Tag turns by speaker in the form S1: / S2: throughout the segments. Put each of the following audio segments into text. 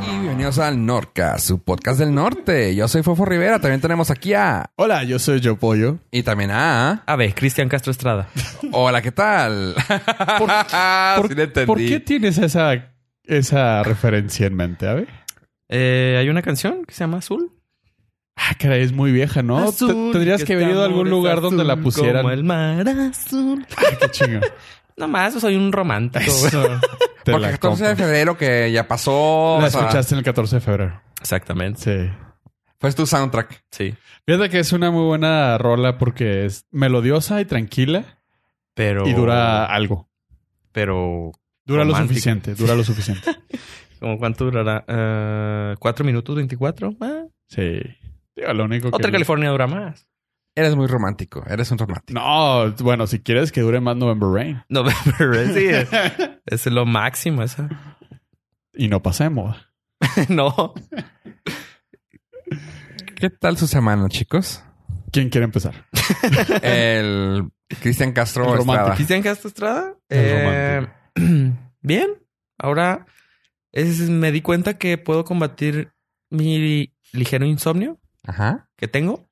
S1: bienvenidos al Norca, su podcast del norte. Yo soy Fofo Rivera, también tenemos aquí a...
S2: Hola, yo soy Yo Pollo.
S1: Y también a...
S3: A ver, Ah, Cristian Castro Estrada.
S1: Hola, ¿qué tal?
S2: ¿Por,
S1: Sí le entendí.
S2: por qué tienes esa, esa referencia en mente, Ave?
S3: Eh, Hay una canción que se llama Azul.
S2: Ah, caray, es muy vieja, ¿no? Te-
S3: Azul,
S2: Tendrías que
S3: este
S2: haber ido a
S3: amor
S2: algún
S3: es
S2: lugar
S3: azul
S2: donde la pusieran.
S3: Como el mar azul.
S2: Ah, qué chingo.
S3: No más, soy un romántico. güey.
S2: Te
S1: Porque el
S2: la
S1: 14 de
S2: compro.
S1: febrero que ya pasó...
S2: La
S1: o sea,
S2: escuchaste en el 14 de febrero.
S3: Exactamente.
S2: Sí.
S1: Fue tu soundtrack.
S3: Sí.
S2: Fíjate que es una muy buena rola porque es melodiosa y tranquila
S3: Pero.
S2: y dura algo.
S3: Pero.
S2: Dura lo
S3: Oh. Romántica.
S2: suficiente, dura lo suficiente.
S3: ¿Cómo cuánto durará? Eh, ¿Cuatro minutos 24? Ah,
S2: Sí. Digo, lo único que...
S3: Otra California dura más.
S1: Eres muy romántico, eres un romántico.
S2: No, bueno, si quieres que dure más November Rain.
S3: No, pero sí, es, es lo máximo esa.
S2: Y no pasa de moda.
S3: no.
S1: ¿Qué tal su semana, chicos?
S2: ¿Quién quiere empezar?
S1: El Cristian Castro
S2: El romántico.
S1: Estrada.
S3: Cristian Castro Estrada.
S2: El
S3: eh, bien. Ahora es, me di cuenta que puedo combatir mi ligero insomnio
S1: Ajá.
S3: que tengo.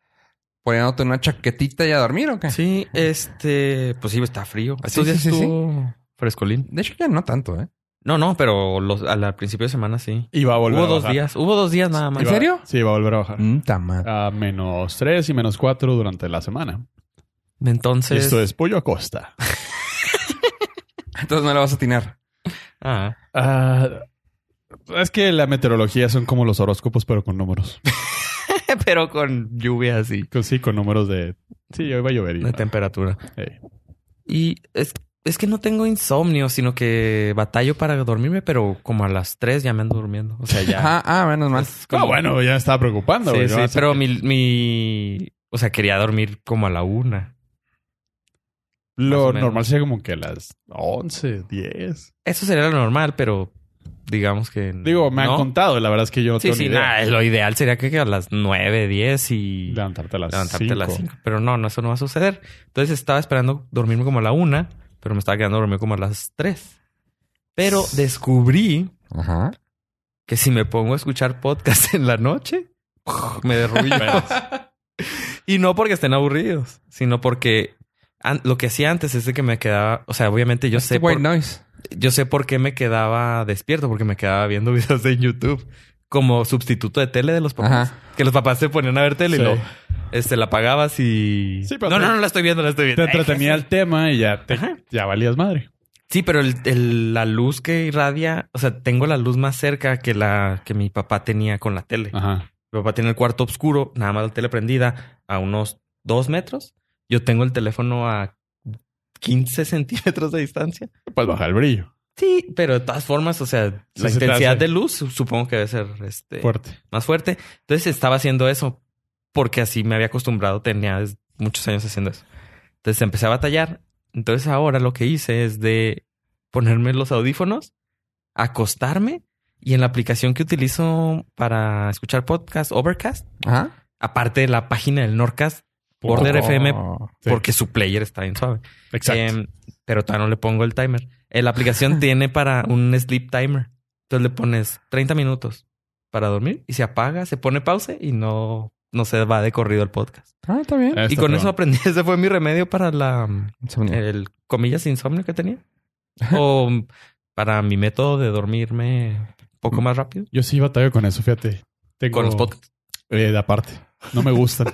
S1: Poniéndote una chaquetita y a dormir o qué?
S3: Sí, este, pues sí, está frío.
S1: Sí,
S3: Estos días
S1: sí, sí,
S3: estuvo frescolín.
S1: De hecho, ya no tanto, ¿eh?
S3: No, no, pero los, al, al principio de semana sí.
S2: Y va a volver
S3: Hubo
S2: a
S3: dos
S2: bajar.
S3: días, hubo dos días nada
S2: Y
S3: más.
S1: ¿En
S2: va-
S1: serio?
S2: Sí, va a volver a bajar.
S1: Mm, ta madre.
S2: A menos 3 y menos 4 durante la semana. Y
S3: Entonces,
S2: Esto es Pollo Acosta.
S1: Entonces no le vas a atinar.
S3: ah,
S2: Ah, es que la meteorología son como los horóscopos, pero con números.
S3: pero con lluvia así,
S2: Con- sí, con números de... Sí, hoy va a llover. y-
S3: de temperatura.
S2: Ey. Ah,
S3: Y es, es que no tengo insomnio, sino que batallo para dormirme, pero como a las 3 ya me ando durmiendo. O sea, ya.
S1: Ajá, ah, menos mal.
S3: Es como-
S2: Ah, bueno, ya me estaba preocupando.
S3: Sí,
S2: güey,
S3: sí,
S2: ¿no? Así
S3: pero
S2: que-
S3: mi, mi. O sea, quería dormir como a la una. más
S2: Lo
S3: o menos.
S2: normal sería como que a las 11, 10.
S3: Eso sería lo normal, pero digamos que.
S2: Digo, me han
S3: Mm, no.
S2: contado. La verdad es que yo no
S3: Sí,
S2: tengo
S3: sí,
S2: ni idea.
S3: nada. Lo ideal sería que a las nueve, diez y
S2: Levantarte a las
S3: levantarte a las
S2: 5.
S3: cinco. Pero no, no, eso no va a suceder. Entonces estaba esperando dormirme como a la una, pero me estaba quedando dormido como a las tres. Pero descubrí
S2: Pues,
S1: Ajá.
S3: que si me pongo a escuchar podcast en la noche, me derrumbo. y no porque estén aburridos, sino porque an- lo que hacía antes es de que me quedaba, o sea, obviamente yo sé,
S1: Este white
S3: por,
S1: noise.
S3: yo sé por qué me quedaba despierto, porque me quedaba viendo videos de YouTube como sustituto de tele de los papás.
S1: Ajá.
S3: Que los papás se ponían a ver tele
S2: Ah. Sí.
S3: y lo, este, la apagabas y...
S2: Sí, pero
S3: no,
S2: te-
S3: no, no la estoy viendo, la estoy
S2: Te
S3: viendo.
S2: entretenía el tema y ya, te-
S3: Ajá.
S2: ya valías madre.
S3: Sí, pero el- el- la luz que irradia, o sea, tengo la luz más cerca que la que mi papá tenía con la tele.
S2: Ajá.
S3: Mi papá tiene el cuarto oscuro, nada más la tele prendida a unos dos metros. Yo tengo el teléfono a 15 centímetros de distancia.
S2: Pues baja el brillo.
S3: Sí, pero de todas formas, o sea,
S2: Sí,
S3: la
S2: se te
S3: intensidad
S2: hace.
S3: de luz su- supongo que debe ser este,
S2: Fuerte.
S3: más fuerte. Entonces estaba haciendo eso porque así me había acostumbrado, tenía des- muchos años haciendo eso. Entonces empecé a batallar. Entonces ahora lo que hice es de ponerme los audífonos, acostarme y en la aplicación que utilizo para escuchar podcast, Overcast,
S1: Ajá.
S3: aparte de la página del Norcast, Border
S2: Oh,
S3: FM,
S2: sí.
S3: porque su player está bien suave.
S2: Exacto.
S3: Em, pero todavía no le pongo el timer. Eh, La aplicación tiene para un sleep timer. Entonces le pones 30 minutos para dormir y se apaga, se pone pausa y no, no se va de corrido el podcast.
S1: Ah, está bien.
S2: Ah, está
S3: y con
S2: perdón.
S3: eso aprendí. Ese fue mi remedio para la,
S1: Insomnio.
S3: el comillas insomnio que tenía. O para mi método de dormirme un poco más rápido.
S2: Yo sí batallo con eso, fíjate. Tengo-
S3: Con los podcasts.
S2: Eh, de aparte. No me gustan.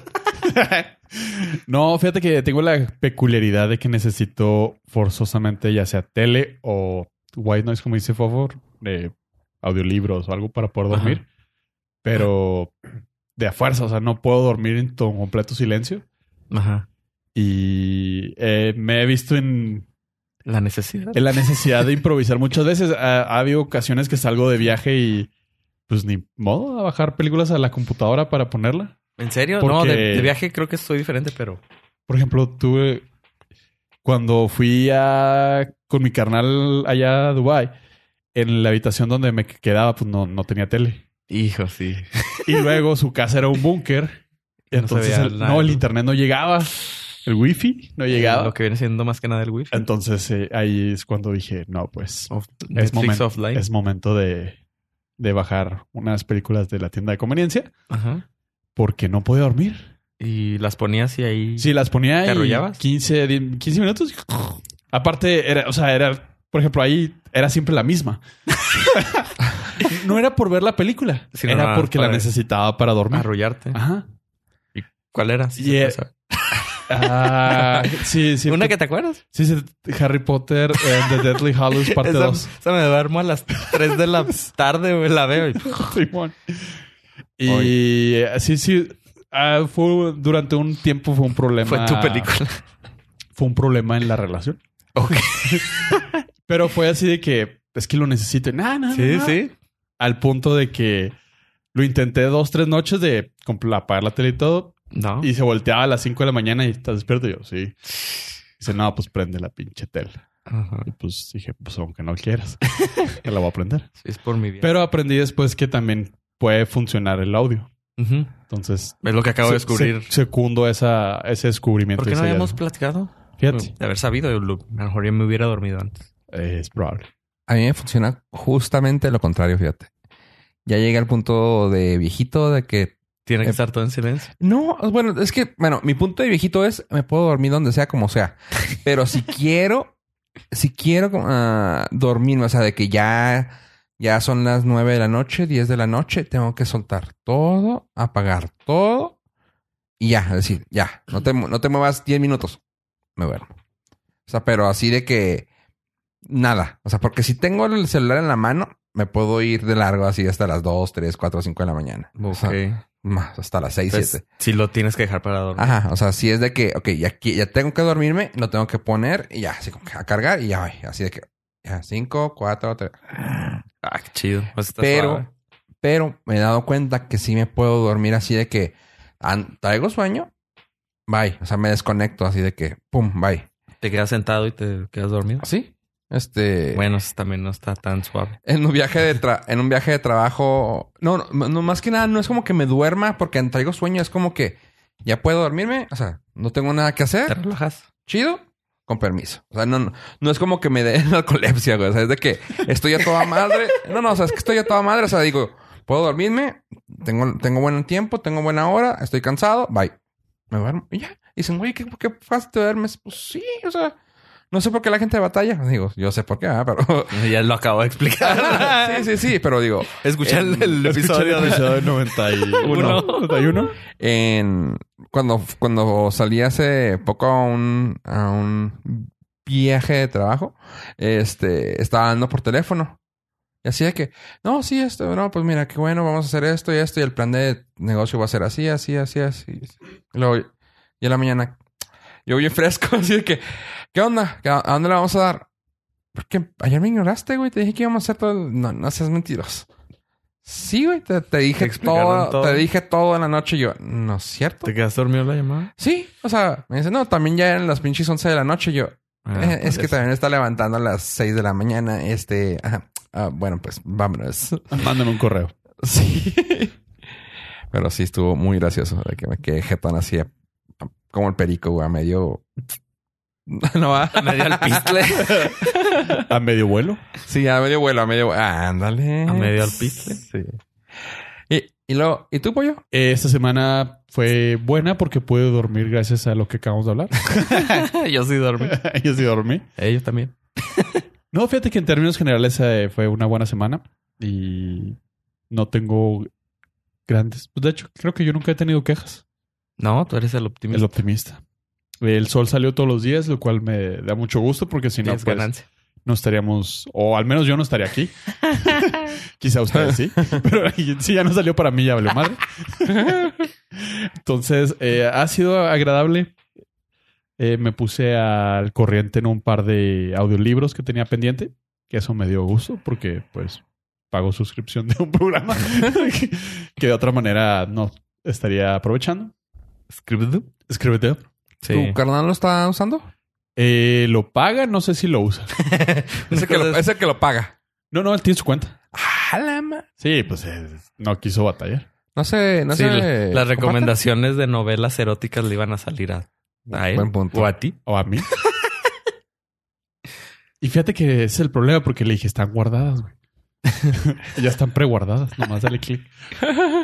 S2: no, fíjate que tengo la peculiaridad de que necesito forzosamente ya sea tele o white noise, como dice Favor, eh, audiolibros o algo para poder
S3: Ajá.
S2: dormir. Pero de a fuerza, o sea, no puedo dormir en to- completo silencio.
S3: Ajá.
S2: Y eh, me he visto en
S3: La necesidad.
S2: en la necesidad de improvisar. Muchas veces ha, ha habido ocasiones que salgo de viaje y pues ni modo a bajar películas a la computadora para ponerla.
S3: ¿En serio?
S2: Porque-
S3: No, de, de viaje creo que soy diferente, pero
S2: Por ejemplo, tuve cuando fui a con mi carnal allá a Dubai en la habitación donde me quedaba pues no, no tenía tele.
S3: hijo, sí.
S2: Y luego su casa era un búnker.
S3: No
S2: Entonces
S3: se veía
S2: el-
S3: nada. Eh,
S2: no, el internet no llegaba. El wifi no llegaba.
S3: Lo que viene siendo más que nada el wifi.
S2: Entonces eh, ahí es cuando dije, no, pues
S3: Of-
S2: es
S3: Netflix
S2: momento,
S3: offline.
S2: es momento de, de bajar unas películas de la tienda de conveniencia
S3: Ajá.
S2: porque no podía dormir.
S3: Y las ponías y ahí.
S2: Si las ponía
S3: ¿Te
S2: y
S3: arrullabas?
S2: 15, 10, 15 minutos. Aparte, era, o sea, era, por ejemplo, ahí era siempre la misma. no era por ver la película,
S3: Sino
S2: era
S3: nada,
S2: porque la
S3: para-
S2: necesitaba para dormir.
S3: Arrullarte.
S2: Ajá.
S3: ¿Cuál era?
S2: Y,
S3: se
S2: eh,
S3: puede saber.
S2: Ah, sí, sí.
S3: Una que te acuerdas.
S2: Sí, sí, Harry Potter and the Deadly Hallows parte
S3: esa,
S2: 2.
S3: esa me duermo a las 3 de la tarde, güey, La veo. y-
S2: Y eh, sí, sí. ah, fue durante un tiempo fue un problema.
S3: Fue tu película.
S2: Fue un problema en la relación.
S3: Ok.
S2: Pero fue así de que es que lo necesito. Nah, nah,
S3: Sí,
S2: nah.
S3: sí.
S2: Al punto de que lo intenté dos, tres noches de compl- apagar la tele y todo.
S3: No.
S2: Y se volteaba a las 5 de la mañana y estás despierto. Y yo, sí. Dice, no, pues prende la pinche tele.
S3: Ajá.
S2: Y pues dije, pues aunque no quieras, te la voy a aprender.
S3: Sí, es por mi bien.
S2: Pero aprendí después que también puede funcionar el audio.
S3: Ujú.
S2: Entonces,
S3: Es lo que acabo de
S2: se-
S3: descubrir.
S2: se- secundo esa, ese descubrimiento.
S3: ¿Por qué no
S2: ese
S3: habíamos
S2: hallazgo.
S3: platicado?
S2: Fíjate, eh,
S3: De haber sabido, yo lo- a lo mejor ya me hubiera dormido antes.
S2: es probable.
S1: A mí me funciona justamente lo contrario, fíjate. Ya llegué al punto de viejito de que
S3: Tiene que
S1: Eh,
S3: estar todo en silencio.
S1: no, bueno, es que, bueno, mi punto de viejito es me puedo dormir donde sea como sea, pero si quiero, si quiero ah, dormirme, o sea, de que ya, ya son las nueve de la noche, 10 de la noche, tengo que soltar todo, apagar todo y ya, es decir, ya, no te, mu- no te muevas 10 minutos, me duermo. O sea, pero así de que nada, o sea, porque si tengo el celular en la mano, me puedo ir de largo así hasta las 2, 3, 4, 5 de la mañana. O sea, más, hasta las 6,
S3: Entonces,
S1: 7.
S3: Pues, si lo tienes que dejar para dormir.
S1: Ajá, o sea, si es de que, ok, ya, qui- ya tengo que dormirme, lo tengo que poner y ya, así como que a cargar y ya, voy. así de que, ya, cinco, cuatro, tres.
S3: Ah, qué chido. Pues está
S1: Pero-
S3: suave.
S1: Pero me he dado cuenta que sí me puedo dormir así de que an- traigo sueño, bye, o sea, me desconecto así de que, pum, bye.
S3: te quedas sentado y te quedas dormido.
S1: Así, este,
S3: ¿Ah, Bueno, eso también no está tan suave.
S1: en un viaje de tra- en un viaje de trabajo, no, no, no, más que nada, no es como que me duerma porque traigo sueño, es como que ya puedo dormirme, o sea, no tengo nada que hacer.
S3: Te relajas.
S1: chido, con permiso. O sea, no, no, no es como que me den narcolepsia, güey. O sea, es de que estoy a toda madre. No, no, o sea, es que estoy a toda madre. O sea, digo, puedo dormirme, tengo, tengo buen tiempo, tengo buena hora, estoy cansado, bye. Me duermo y ya. Dicen, güey, ¿qué, qué fácil te duermes. Pues sí, o sea, no sé por qué la gente batalla. Digo, yo sé por qué, ah, pero.
S3: Ya lo acabo de explicar.
S1: sí, sí, sí, pero digo,
S3: Escuché el, el
S2: Escucha
S3: episodio
S2: el
S3: de...
S2: episodio 91.
S3: Uno.
S2: 91.
S1: en cuando, cuando salí hace poco a un, a un viaje de trabajo, este estaba hablando por teléfono. Y así de que, no, sí, esto, no, pues mira, qué bueno, vamos a hacer esto y esto, y el plan de negocio va a ser así, así, así, así. Y luego, y en la mañana, yo bien fresco, así de que, ¿qué onda? ¿Qué- ¿A dónde le vamos a dar? Porque ayer me ignoraste, güey, te dije que íbamos a hacer todo. el- No, no seas mentiros. Sí, güey, te, te dije
S3: explicaron
S1: todo,
S3: todo?
S1: te dije todo en la noche. Y yo, no es cierto.
S3: ¿Te quedas dormido en la llamada?
S1: Sí, o sea, me dice, no, también ya eran las pinches 11 de la noche. Y yo,
S3: Ah,
S1: eh, es que
S3: pues,
S1: también está levantando a las 6 de la mañana. Este, ajá. Ah, bueno, pues vámonos.
S2: Mándame un correo.
S1: Sí. Pero sí estuvo muy gracioso de que me quedé jetón así a- a- como el perico, güey, a medio. No va.
S3: Medio al pistle.
S2: A medio vuelo.
S1: Sí, a medio vuelo, a medio vuelo. Ándale.
S3: A medio al pistle.
S1: Sí. Y, y luego, ¿y tú, pollo?
S2: Eh, Esta semana fue buena porque pude dormir gracias a lo que acabamos de hablar.
S3: Yo sí dormí.
S2: Yo sí dormí.
S3: Ellos pues, eh, también.
S2: No, fíjate que en términos generales eh, fue una buena semana y no tengo grandes. Pues de hecho, creo que yo nunca he tenido quejas.
S3: No, tú eres el
S2: El
S3: optimista.
S2: optimista. El sol salió todos los días, lo cual me da mucho gusto porque si no,
S3: Tienes
S2: pues,
S3: ganancia.
S2: no estaríamos, o al menos yo no estaría aquí. Quizá ustedes sí, pero si ya no salió para mí, ya valió madre. Entonces, eh, ha sido agradable. Eh, me puse al corriente en un par de audiolibros que tenía pendiente, que eso me dio gusto porque, pues, pago suscripción de un programa que de otra manera no estaría aprovechando.
S3: ¿Scribd?
S2: Escríbete.
S1: ¿Tu carnal lo está usando?
S2: Eh, lo paga, no sé si lo usa.
S1: Ese que, lo, ese que lo paga.
S2: No, no, él tiene su cuenta.
S1: Ah, la ma-
S2: Sí, pues eh, no quiso batallar.
S1: No sé, no
S3: Sí,
S1: sé.
S3: la- las
S1: ¿comparte?
S3: recomendaciones de novelas eróticas le iban a salir a, a él
S1: Buen punto.
S3: o a ti.
S2: O a mí. y fíjate que ese es el problema porque le dije, están guardadas, güey. ya están preguardadas, nomás dale clic.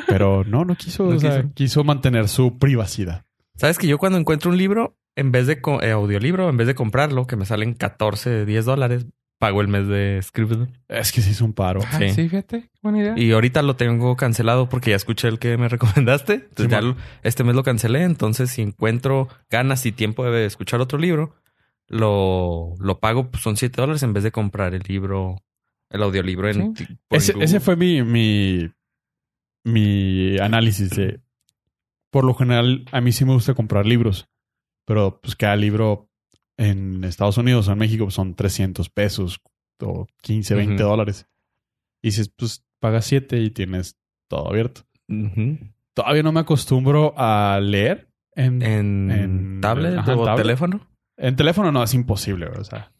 S2: Pero no, no quiso, o sea, quiso. mantener su privacidad.
S3: ¿Sabes que yo cuando encuentro un libro, en vez de co- eh, audiolibro, en vez de comprarlo, que me salen 14, 10 dólares, pago el mes de Scribd.
S2: Es que se hizo un paro.
S1: Ah,
S3: Sí.
S1: sí. fíjate. Qué buena idea.
S3: Y ahorita lo tengo cancelado porque ya escuché el que me recomendaste. Entonces ya
S2: Simón.
S3: lo- este mes lo cancelé. Entonces, si encuentro ganas y tiempo de escuchar otro libro, lo, lo pago, pues, son 7 dólares en vez de comprar el libro, el audiolibro en, por
S2: Ese,
S3: Google.
S2: ese fue mi, mi, mi análisis de... Por lo general, a mí sí me gusta comprar libros, pero pues cada libro en Estados Unidos o en México pues, son 300 pesos o 15, 20
S3: Ujú.
S2: dólares. Y dices, pues pagas 7 y tienes todo abierto.
S3: Ujú.
S2: Todavía no me acostumbro a leer en,
S3: en,
S2: En-
S3: tablet
S2: ajá,
S3: o
S2: tablet.
S3: teléfono.
S2: en teléfono. No, es imposible, o sea.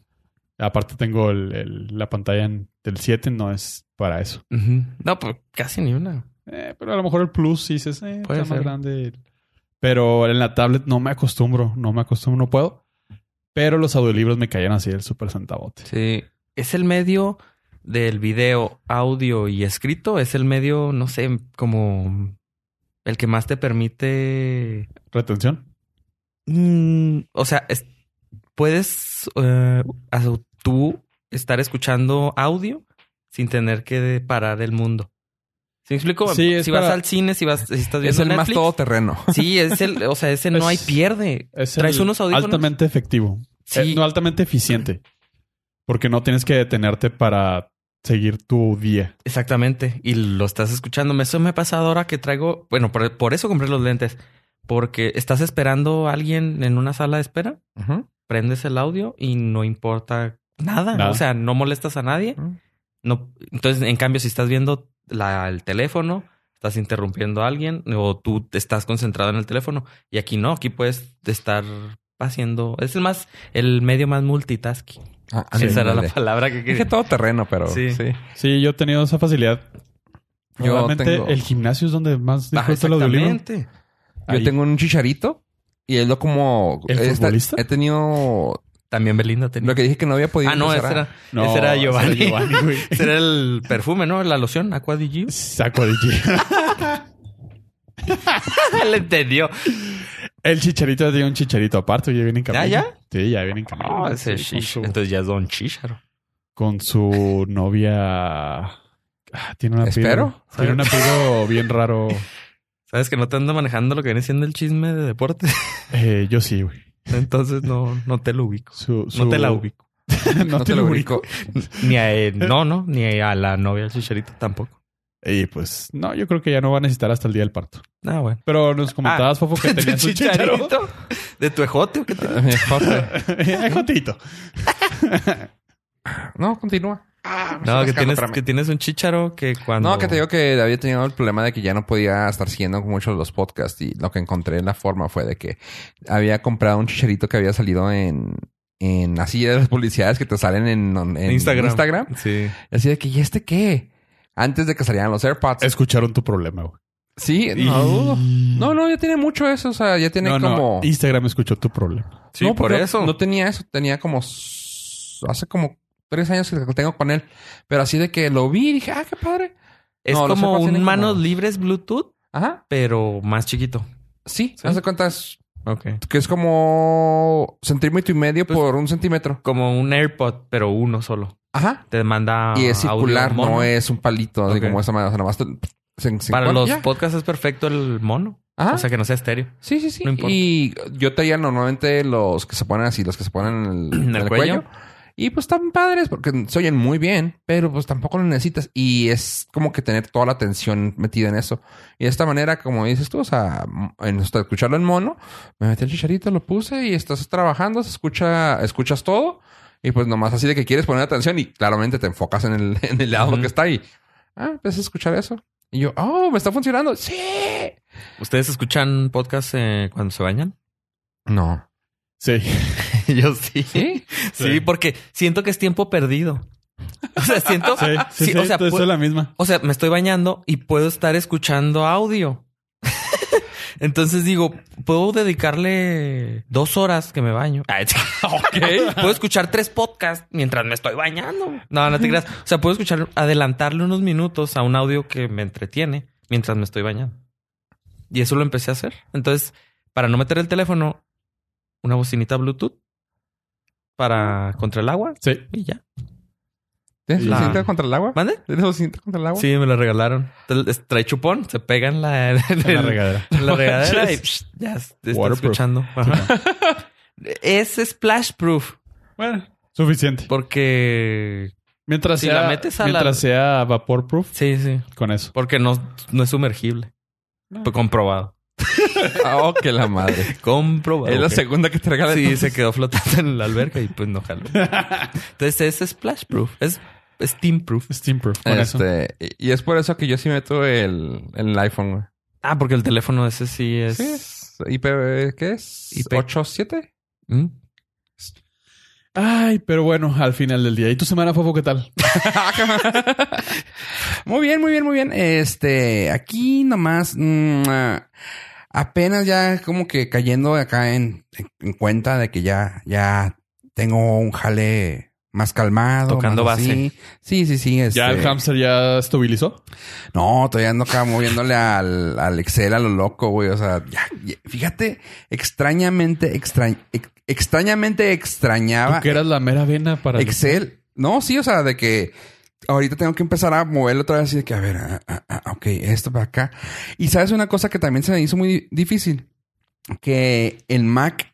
S2: Aparte tengo el- el- la pantalla en- del 7, no es para eso.
S3: No, pues casi ni una.
S2: Eh, pero a lo mejor el plus sí dices, eh,
S3: Puede
S2: está más
S3: ser.
S2: grande. Pero en la tablet no me acostumbro, no me acostumbro, no puedo. Pero los audiolibros me caían así el super centavote.
S3: Sí. Es el medio del video, audio y escrito. Es el medio, no sé, como el que más te permite.
S2: Retención.
S3: Mm, o sea, es- puedes eh, as- tú estar escuchando audio sin tener que parar el mundo. ¿Sí me explico?
S2: Sí, es
S3: si vas
S2: para-
S3: al cine, si vas, si estás
S1: Es
S3: viendo
S1: el más
S3: Netflix,
S1: todoterreno.
S3: Sí, es el, o sea, ese no hay
S2: Es- eh,
S3: pierde.
S2: Es
S3: ¿Traes
S2: el
S3: unos audífonos?
S2: Altamente efectivo.
S3: Sí.
S2: Eh, no altamente eficiente. Porque no tienes que detenerte para seguir tu día.
S3: Exactamente. Y lo estás escuchando. Me- Eso me ha pasado ahora que traigo. Bueno, por, por eso compré los lentes. Porque estás esperando a alguien en una sala de espera,
S1: Ujú.
S3: prendes el audio y no importa nada.
S2: Nada.
S3: O sea, no molestas a nadie.
S1: Ujú.
S3: No, entonces, en cambio, si estás viendo la- el teléfono, estás interrumpiendo a alguien o tú te estás concentrado en el teléfono. Y aquí no, aquí puedes estar haciendo. Es el más, el medio más multitasking.
S1: Ah,
S3: Esa era la
S1: ándale.
S3: palabra que quería.
S1: Dije todoterreno, pero
S3: Sí.
S1: sí.
S2: Sí, yo he tenido esa facilidad.
S1: Yo
S2: Realmente
S1: tengo-
S2: el gimnasio es donde más
S3: Ah,
S2: disfruto el audiolibro.
S3: exactamente.
S1: Yo
S2: Ahí.
S1: tengo un chicharito y es lo como...
S2: ¿El
S1: esta-
S2: futbolista?
S1: He tenido...
S3: También Belinda tenía.
S1: Lo que dije que no había podido...
S3: Ah, no, ese
S1: empezar a-
S3: era, ese era Giovanni. Ese era,
S2: güey.
S3: el perfume, ¿no? La loción, Aqua di Gio.
S2: Saco de G.
S3: Le entendió.
S2: El chicharito tiene un chicharito aparte, ya viene en camino.
S3: ya?
S2: Sí, ya viene en camino.
S3: No, Ah, ese
S2: Sí, con,
S3: Shish.
S2: su,
S3: Entonces ya es Don Chicharo.
S2: con su novia. Ah, tiene un apellido.
S1: Espero.
S2: Tiene un apellido bien raro.
S3: Sabes que no te ando manejando lo que viene siendo el chisme de deporte.
S2: Eh, yo sí, güey.
S3: Entonces no, no te lo ubico.
S2: Su- su-
S3: No te la ubico.
S2: no, te lo ubico.
S3: Ni a él, no, no, ni a la novia del Chicharito tampoco.
S2: Y pues, no, yo creo que ya no va a necesitar hasta el día del parto.
S3: Ah, bueno.
S2: Pero nos comentabas, Fofo, que
S3: ¿De tu
S2: tenías un chicharito.
S3: Ah, chicharito? ¿De tu ejote o qué te...
S1: Mi esposa.
S2: Eh, Jotito.
S1: No, continúa.
S3: No, que
S1: rascando,
S3: tienes,
S1: espérame.
S3: que tienes un chicharo que cuando...
S1: No, que te digo que había tenido el problema de que ya no podía estar siguiendo muchos los podcasts y lo que encontré en la forma fue de que había comprado un chicharito que había salido en, en así de las publicidades que te salen en, en
S3: Instagram.
S1: Instagram.
S3: Sí.
S1: Y Así de que, ¿y este qué? Antes de que salieran los AirPods.
S2: Escucharon tu problema, güey.
S1: Sí, no dudo. No, no, ya tiene mucho eso. O sea, ya tiene
S2: No, no,
S1: como...
S2: Instagram escuchó tu problema.
S3: Sí,
S1: No,
S3: por
S1: porque
S3: eso.
S1: No tenía eso. Tenía como... s- Hace como tres años que lo tengo con él. Pero así de que lo vi y dije, ah, qué padre.
S3: Es
S1: No, los
S3: como
S1: AirPods
S3: un
S1: tienen
S3: manos
S1: como-
S3: libres Bluetooth,
S1: Ajá.
S3: pero más chiquito.
S1: Sí.
S3: ¿Sí?
S1: Haz de cuenta, es-
S3: Ok.
S1: que es como centímetro y medio
S3: Pues-
S1: por un centímetro.
S3: Como un AirPod, pero uno solo.
S1: Ajá.
S3: Te manda
S1: y es
S3: Ah, audio
S1: circular,
S3: mono.
S1: no es un palito. así
S3: Ok.
S1: como esa manera. O sea, nomás... te- se- se
S3: Para
S1: pone
S3: los
S1: ya. Ah.
S3: podcasts es perfecto el mono.
S1: Ajá.
S3: O sea, que no sea estéreo.
S1: Sí, sí, sí.
S3: No importa.
S1: y yo traía normalmente los que se ponen así, los que se ponen en el, en el cuello. Y pues están padres porque se oyen muy bien, pero pues tampoco lo necesitas. Y es como que tener toda la atención metida en eso. Y de esta manera, como dices tú, o sea, m- en hasta escucharlo en mono, me metí el chicharito, lo puse y estás trabajando, se escucha, escuchas todo. Y pues nomás así de que quieres poner atención y claramente te enfocas en el, en el lado
S3: Ujú.
S1: que está ahí. Ah, empecé a escuchar eso. Y yo, oh, me está funcionando. Sí.
S3: ¿Ustedes escuchan podcasts eh, cuando se bañan?
S1: No.
S2: Sí.
S3: Yo sí. sí.
S1: Sí.
S2: Sí.
S3: porque siento que es tiempo perdido. O sea, siento...
S2: Sí,
S1: Ah,
S2: sí,
S3: sí,
S2: sí,
S3: o sea,
S2: entonces
S3: pu-
S2: es la misma.
S3: O sea, me estoy bañando y puedo estar escuchando audio. Entonces digo, puedo dedicarle dos horas que me baño. Ah, es- ok. Puedo escuchar tres podcasts mientras me estoy bañando. Ah, No, no te creas. O sea, puedo escuchar, adelantarle unos minutos a un audio que me entretiene mientras me estoy bañando. Y eso lo empecé a hacer. Entonces, para no meter el teléfono, una bocinita Bluetooth para contra el agua
S2: Sí.
S3: y ya.
S1: ¿Tienes
S2: La-
S1: cinta contra el agua?
S3: ¿Mande?
S1: ¿Tienes cinta contra el agua?
S3: Sí, me la regalaron. Entonces, trae chupón, se pega en la, en
S2: En la
S3: el-
S2: regadera.
S3: la regadera y
S2: manches.
S3: psh, ya te está
S2: Waterproof.
S3: escuchando. Ajá. es splash proof
S2: Bueno, suficiente.
S3: porque
S2: Mientras,
S3: Si
S2: sea,
S3: la metes a la-
S2: mientras sea vapor proof,
S3: sí, sí,
S2: con eso.
S3: porque no, no es sumergible.
S2: No.
S3: Fue comprobado.
S1: Ah, oh, que la madre.
S3: Comprobado.
S1: Es la
S3: Ok.
S1: segunda que te regalan.
S3: Sí, se quedó flotando en la alberca y pues no jaló. Entonces es splash proof, es steam proof.
S2: Steam proof. Con eso.
S1: Este, y y es por eso que yo sí meto el, el iPhone, güey.
S3: Ah, porque el teléfono ese sí es.
S1: Sí, es IP, ¿qué es?
S3: IP.
S1: ¿87?
S3: ¿Mm?
S2: Ay, pero bueno, al final del día. ¿Y tu semana, Fofo, qué tal?
S1: Muy bien, muy bien, muy bien. Este, aquí nomás mm, ah, apenas ya como que cayendo acá en, en- en cuenta de que ya, ya tengo un jale más calmado.
S3: Tocando
S1: más así. Sí, sí, sí. Este,
S2: Pues ¿Ya el hamster ya estabilizó?
S1: No, todavía ando acá moviéndole al, al Excel a lo loco, güey. O sea, ya, ya- fíjate, extrañamente, extrañ- ex- extrañamente
S2: Tú
S3: Ah,
S1: extrañaba
S2: que eras la mera vena para... el-
S1: Excel. No, sí, o sea, de que ahorita tengo que empezar a moverlo otra vez así de que, a ver, ah, ah, ah, ok, esto para acá. Y sabes una cosa que también se me hizo muy difícil, que el Mac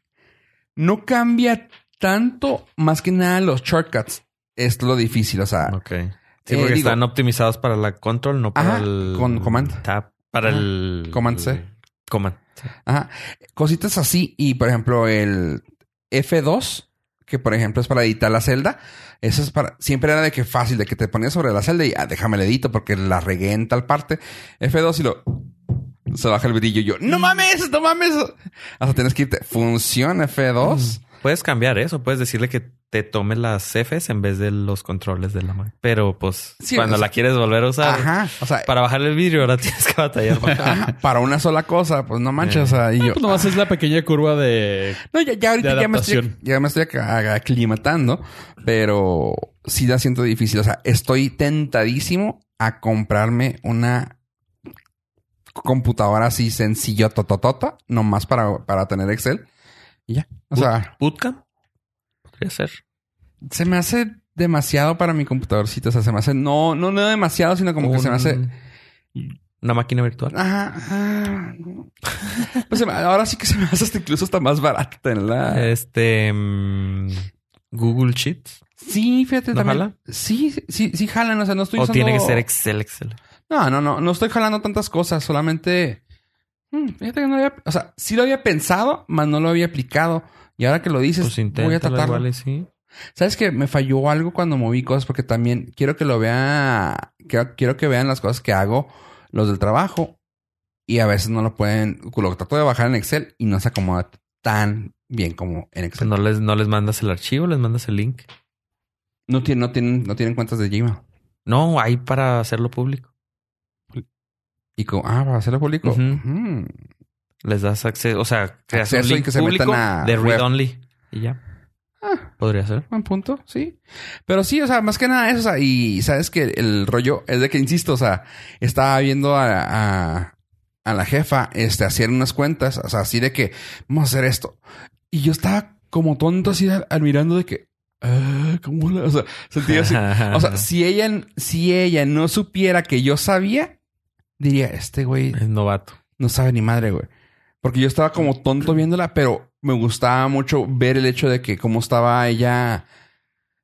S1: no cambia tanto más que nada los shortcuts. Es lo difícil, o sea,
S3: Ok. Sí,
S1: Eh,
S3: porque
S1: digo-
S3: están optimizados para la control, no para
S1: Ajá,
S3: el.
S1: con command.
S3: tab, para
S1: Ajá.
S3: el.
S1: Command C.
S3: Command.
S1: Ajá. Cositas así. Y por ejemplo, el F2, que por ejemplo es para editar la celda. Eso es para. Siempre era de que fácil, de que te ponías sobre la celda y ah, déjame le edito porque la regué en tal parte. F2 y lo. Se baja el brillo y yo. ¡No mames! ¡No mames! Hasta tienes que irte. Funciona F2.
S3: Puedes cambiar eso, puedes decirle que te tome las Fs en vez de los controles de la Mac. Pero pues
S1: Sí,
S3: cuando
S1: o sea-
S3: la quieres volver a usar,
S1: Ajá. O sea,
S3: para bajar el vidrio ahora tienes que batallar. más.
S1: ajá, para una sola cosa, pues no manches. O sea, y yo.
S2: Pues nomás es la pequeña curva de...
S1: No, ya, ya ahorita
S2: De
S1: ya me, estoy,
S2: adaptación.
S1: ya me estoy ac- aclimatando, pero sí la siento difícil. O sea, estoy tentadísimo a comprarme una computadora así sencilla, tototota, nomás para, para tener Excel. Y ya. O sea,
S3: Bootcamp podría ser.
S1: se me hace demasiado para mi computadorcita. O sea, se me hace, no, no, no demasiado, sino como que se me hace.
S3: una máquina virtual.
S1: Ajá, ajá. Pues se me- ahora sí que se me hace hasta incluso hasta más barato tenerla.
S3: Este mm, Google Sheets.
S1: Sí, fíjate
S3: ¿No
S1: también.
S3: jala?
S1: Sí, sí, sí jalan. O sea, no estoy
S3: O
S1: usando-
S3: tiene que ser Excel, Excel.
S1: No, no, no. No estoy jalando tantas cosas. Solamente... Hmm, fíjate que no había... O sea, sí lo había pensado, mas no lo había aplicado. Y ahora que lo dices,
S3: Pues
S1: voy a
S3: intenta
S1: tratarlo.
S3: igual y sí.
S1: ¿Sabes que Me falló algo cuando moví cosas porque también quiero que lo vea... Quiero, quiero que vean las cosas que hago los del trabajo. Y a veces no lo pueden... Lo trato de bajar en Excel y no se acomoda tan bien como en
S3: Pues
S1: Excel.
S3: no les, no les mandas el archivo, les mandas el link.
S1: No, tienen, no, tienen, no tienen cuentas de Gmail.
S3: No, hay para hacerlo público.
S1: Y como... Ah, para hacerlo público. Mm,
S3: Ujú.
S1: Ujú.
S3: Les das acceso, o sea, creas un
S1: Acceso y
S3: link
S1: que se
S3: público
S1: metan a
S3: de read
S1: web.
S3: only y ya.
S1: Ah.
S3: Podría ser.
S1: Buen punto, sí. Pero sí, o sea, más que nada eso, o sea, y sabes que el rollo es de que, insisto, o sea, estaba viendo a, a, a la jefa este, hacer unas cuentas, o sea, así de que vamos a hacer esto. Y yo estaba como tonto así al- admirando de que, ah, ¿cómo la? O sea, sentía así. O sea, si ella, si ella no supiera que yo sabía, diría, este güey
S3: es novato.
S1: no sabe ni madre, güey. Porque yo estaba como tonto viéndola, pero me gustaba mucho ver el hecho de que cómo estaba ella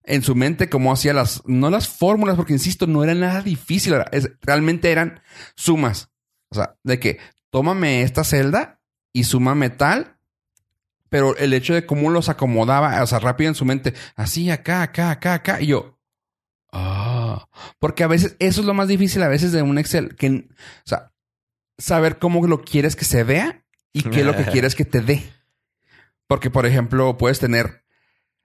S1: en su mente, cómo hacía las, no las fórmulas, porque insisto, no era nada difícil, era- es- realmente eran sumas. O sea, de que tómame esta celda y súmame tal, pero el hecho de cómo los acomodaba, o sea, rápido en su mente, así, acá, acá, acá, acá, y yo. Ah, porque a veces eso es lo más difícil a veces de un Excel, que, o sea, saber cómo lo quieres que se vea y qué es lo que quieres que te dé. Porque, por ejemplo, puedes tener,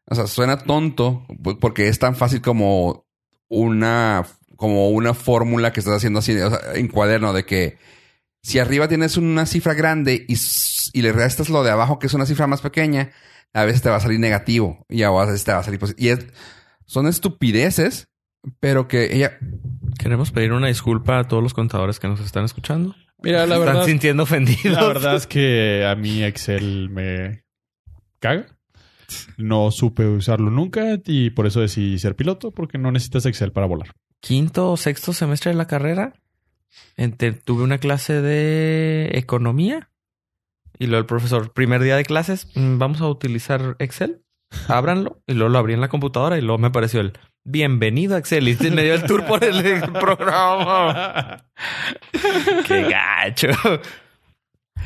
S1: o sea, suena tonto pu- porque es tan fácil como una, como una fórmula que estás haciendo así, o sea, en cuaderno de que Si arriba tienes una cifra grande y, s- y le restas lo de abajo, que es una cifra más pequeña, a veces te va a salir negativo y a veces te va a salir positivo. Y es- son estupideces, pero que ella...
S3: Queremos pedir una disculpa a todos los contadores que nos están escuchando.
S2: Mira, la
S3: Se
S2: verdad,
S3: Están sintiendo ofendidos.
S2: la verdad es que a mí Excel me caga. No supe usarlo nunca y por eso decidí ser piloto porque no necesitas Excel para volar.
S3: Quinto o sexto semestre de la carrera, ente- tuve una clase de economía y luego el profesor, primer día de clases, "Mm, vamos a utilizar Excel. Ábranlo y luego lo abrí en la computadora y luego me apareció el bienvenido a Excel y me dio el tour por el programa. Qué gacho.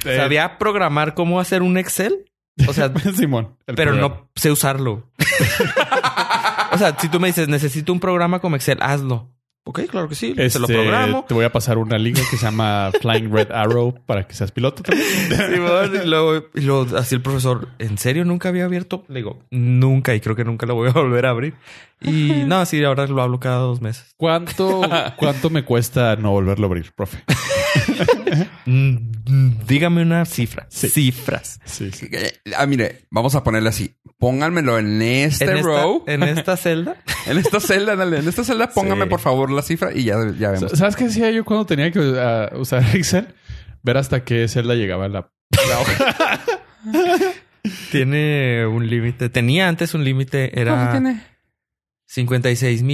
S2: Eh,
S3: Sabía programar cómo hacer un Excel. O sea,
S2: Simón. el
S3: pero
S2: programa.
S3: no sé usarlo. o sea, si tú me dices, necesito un programa como Excel, hazlo. Ok, claro que sí. Se lo
S2: Este,
S3: programo.
S2: Te voy a pasar una liga que se llama Flying Red Arrow para que seas piloto. también.
S3: Simón, y, luego, y luego así el profesor, ¿en serio nunca había abierto? Le digo, nunca y creo que nunca lo voy a volver a abrir. Y no, sí, ahora lo hablo cada dos meses.
S2: ¿Cuánto, ¿Cuánto me cuesta no volverlo a abrir, profe?
S3: Mm, mm, dígame una cifra.
S2: Sí.
S3: Cifras.
S2: Sí, sí.
S1: Ah, mire, vamos a ponerle así. Pónganmelo en este
S3: en, esta,
S1: row.
S3: en esta celda.
S1: En esta celda, ándale, en esta celda, póngame
S2: Sí.
S1: por favor la cifra y ya, ya vemos.
S2: ¿Sabes qué hacía yo cuando tenía que ah, usar Excel? Ver hasta qué celda llegaba la... la hoja.
S3: Tiene un límite. Tenía antes un límite. Era...
S1: ¿Cuánto Ah, tiene?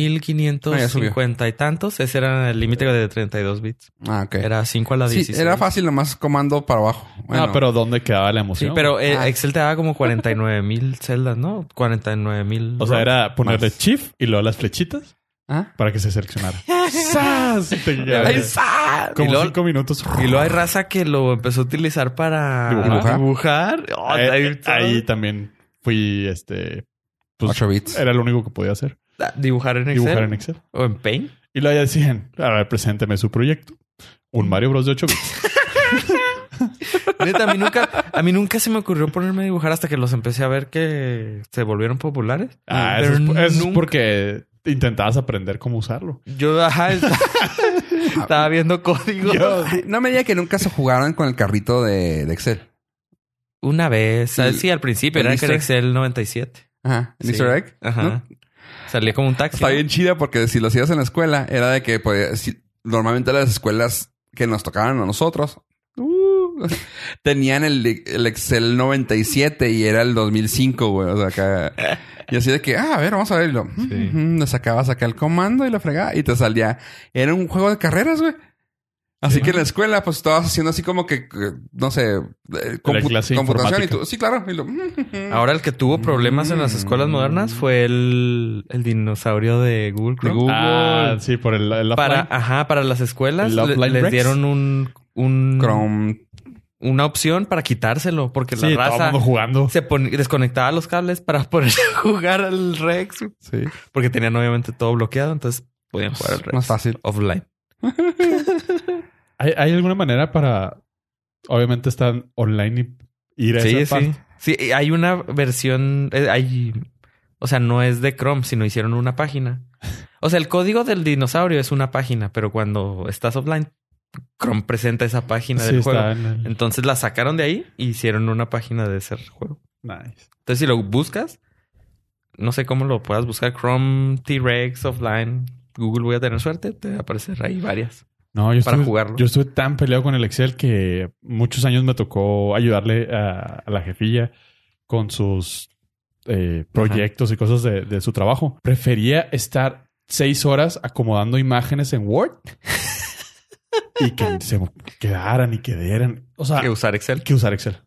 S3: 56,550 y tantos. Ese era el límite de 32 bits.
S1: Ah, ok.
S3: Era ¿eh? 5 a la
S1: Sí,
S3: 16.
S1: era fácil, nomás comando para abajo.
S2: Ah, pero ¿dónde quedaba la
S3: Sí,
S2: emoción?
S3: pero eh,
S1: Ah.
S3: Excel te daba como 49 mil celdas, ¿no? 49 mil.
S2: O sea, era ponerle
S1: Más.
S2: shift y luego las flechitas
S1: ¿Ah?
S2: para que se seleccionara. ¡Sas! Y te llegaba.
S3: Ay, sa-
S2: Como
S3: y, luego,
S2: cinco minutos.
S3: y luego hay raza que lo empezó a utilizar para
S2: ¿Dibujar?
S3: dibujar. Oh,
S2: Eh,
S3: ahí-
S2: ahí también fui, este... pues,
S1: 8 bits.
S3: eh,
S2: era lo único que podía hacer.
S3: dibujar en Excel.
S2: Dibujar en Excel.
S3: O en Paint.
S2: Y luego ya decían, a ver, presénteme su proyecto. Un Mario Bros. de 8 bits.
S3: Neta, a mí, nunca, a mí nunca se me ocurrió ponerme a dibujar hasta que los empecé a ver que se volvieron populares.
S2: Ah,
S3: Pero
S2: eso es, eso es
S3: nunca-
S2: porque intentabas aprender cómo usarlo.
S3: Yo ajá, estaba, estaba viendo código.
S1: Ay, No me diga que nunca se jugaron con el carrito de, de Excel.
S3: Una vez. ah,
S1: Sí.
S3: Sí, al principio. Era que
S1: ¿Viste?
S3: era Excel 97.
S1: Ajá. ¿El
S3: Sí.
S1: Easter egg?
S3: Ajá.
S1: ¿No?
S3: Salía como un taxi.
S1: Está
S3: ¿no?
S1: bien chida porque si lo hacías en la escuela, era de que pues, si- normalmente las escuelas que nos tocaban a nosotros uh, tenían el, el Excel 97 y era el 2005, güey. O sea, acá. Y así de que, ah, a ver, vamos a verlo.
S3: Sí.
S1: Mm, Le sacabas acá el comando y lo fregaba y te salía. Era un juego de carreras, güey. Así que en la escuela, pues estabas haciendo así como que, que, no sé, eh, compu-
S2: clase
S1: computación
S2: de
S1: y
S2: informática.
S1: tú, sí, claro. Y lo, mm,
S3: Ahora el que tuvo problemas en las
S2: Mm.
S3: escuelas modernas fue el, el dinosaurio de Google Chrome.
S1: Google.
S2: Ah, sí, por el, el
S3: Para,
S2: offline.
S3: ajá, para las escuelas
S2: El
S3: le-
S2: offline
S3: les
S2: Rex.
S3: dieron un, un
S1: Chrome.
S3: una opción para quitárselo porque
S2: Sí, todo
S3: la
S2: el
S3: raza
S2: mundo jugando.
S3: se pon- desconectaba los cables para poder jugar al Rex
S1: Sí.
S3: porque tenían obviamente todo bloqueado, entonces podían jugar al Rex
S1: Más fácil.
S3: offline.
S2: ¿Hay, hay alguna manera para... Obviamente están online y ir a
S3: Sí,
S2: esa parte?
S3: sí. Sí, y hay una versión, eh, hay, o sea, no es de Chrome, sino hicieron una página. O sea, el código del dinosaurio es una página, pero cuando estás offline, Chrome presenta esa página
S2: Sí,
S3: del
S2: está
S3: juego.
S2: en el-
S3: Entonces la sacaron de ahí y hicieron una página de ese juego.
S2: Nice.
S3: Entonces, si lo buscas, no sé cómo lo puedas buscar, Chrome, T-Rex, offline, Google, voy a tener suerte, te va a aparecer ahí varias.
S2: No, yo
S3: Para
S2: estuve,
S3: jugarlo.
S2: Yo estuve tan peleado con el Excel que muchos años me tocó ayudarle a, a la jefilla con sus eh, proyectos y cosas de, de su trabajo. Prefería estar seis horas acomodando imágenes en Word y que se quedaran y quedaran. O sea,
S3: Que usar Excel.
S2: que usar Excel.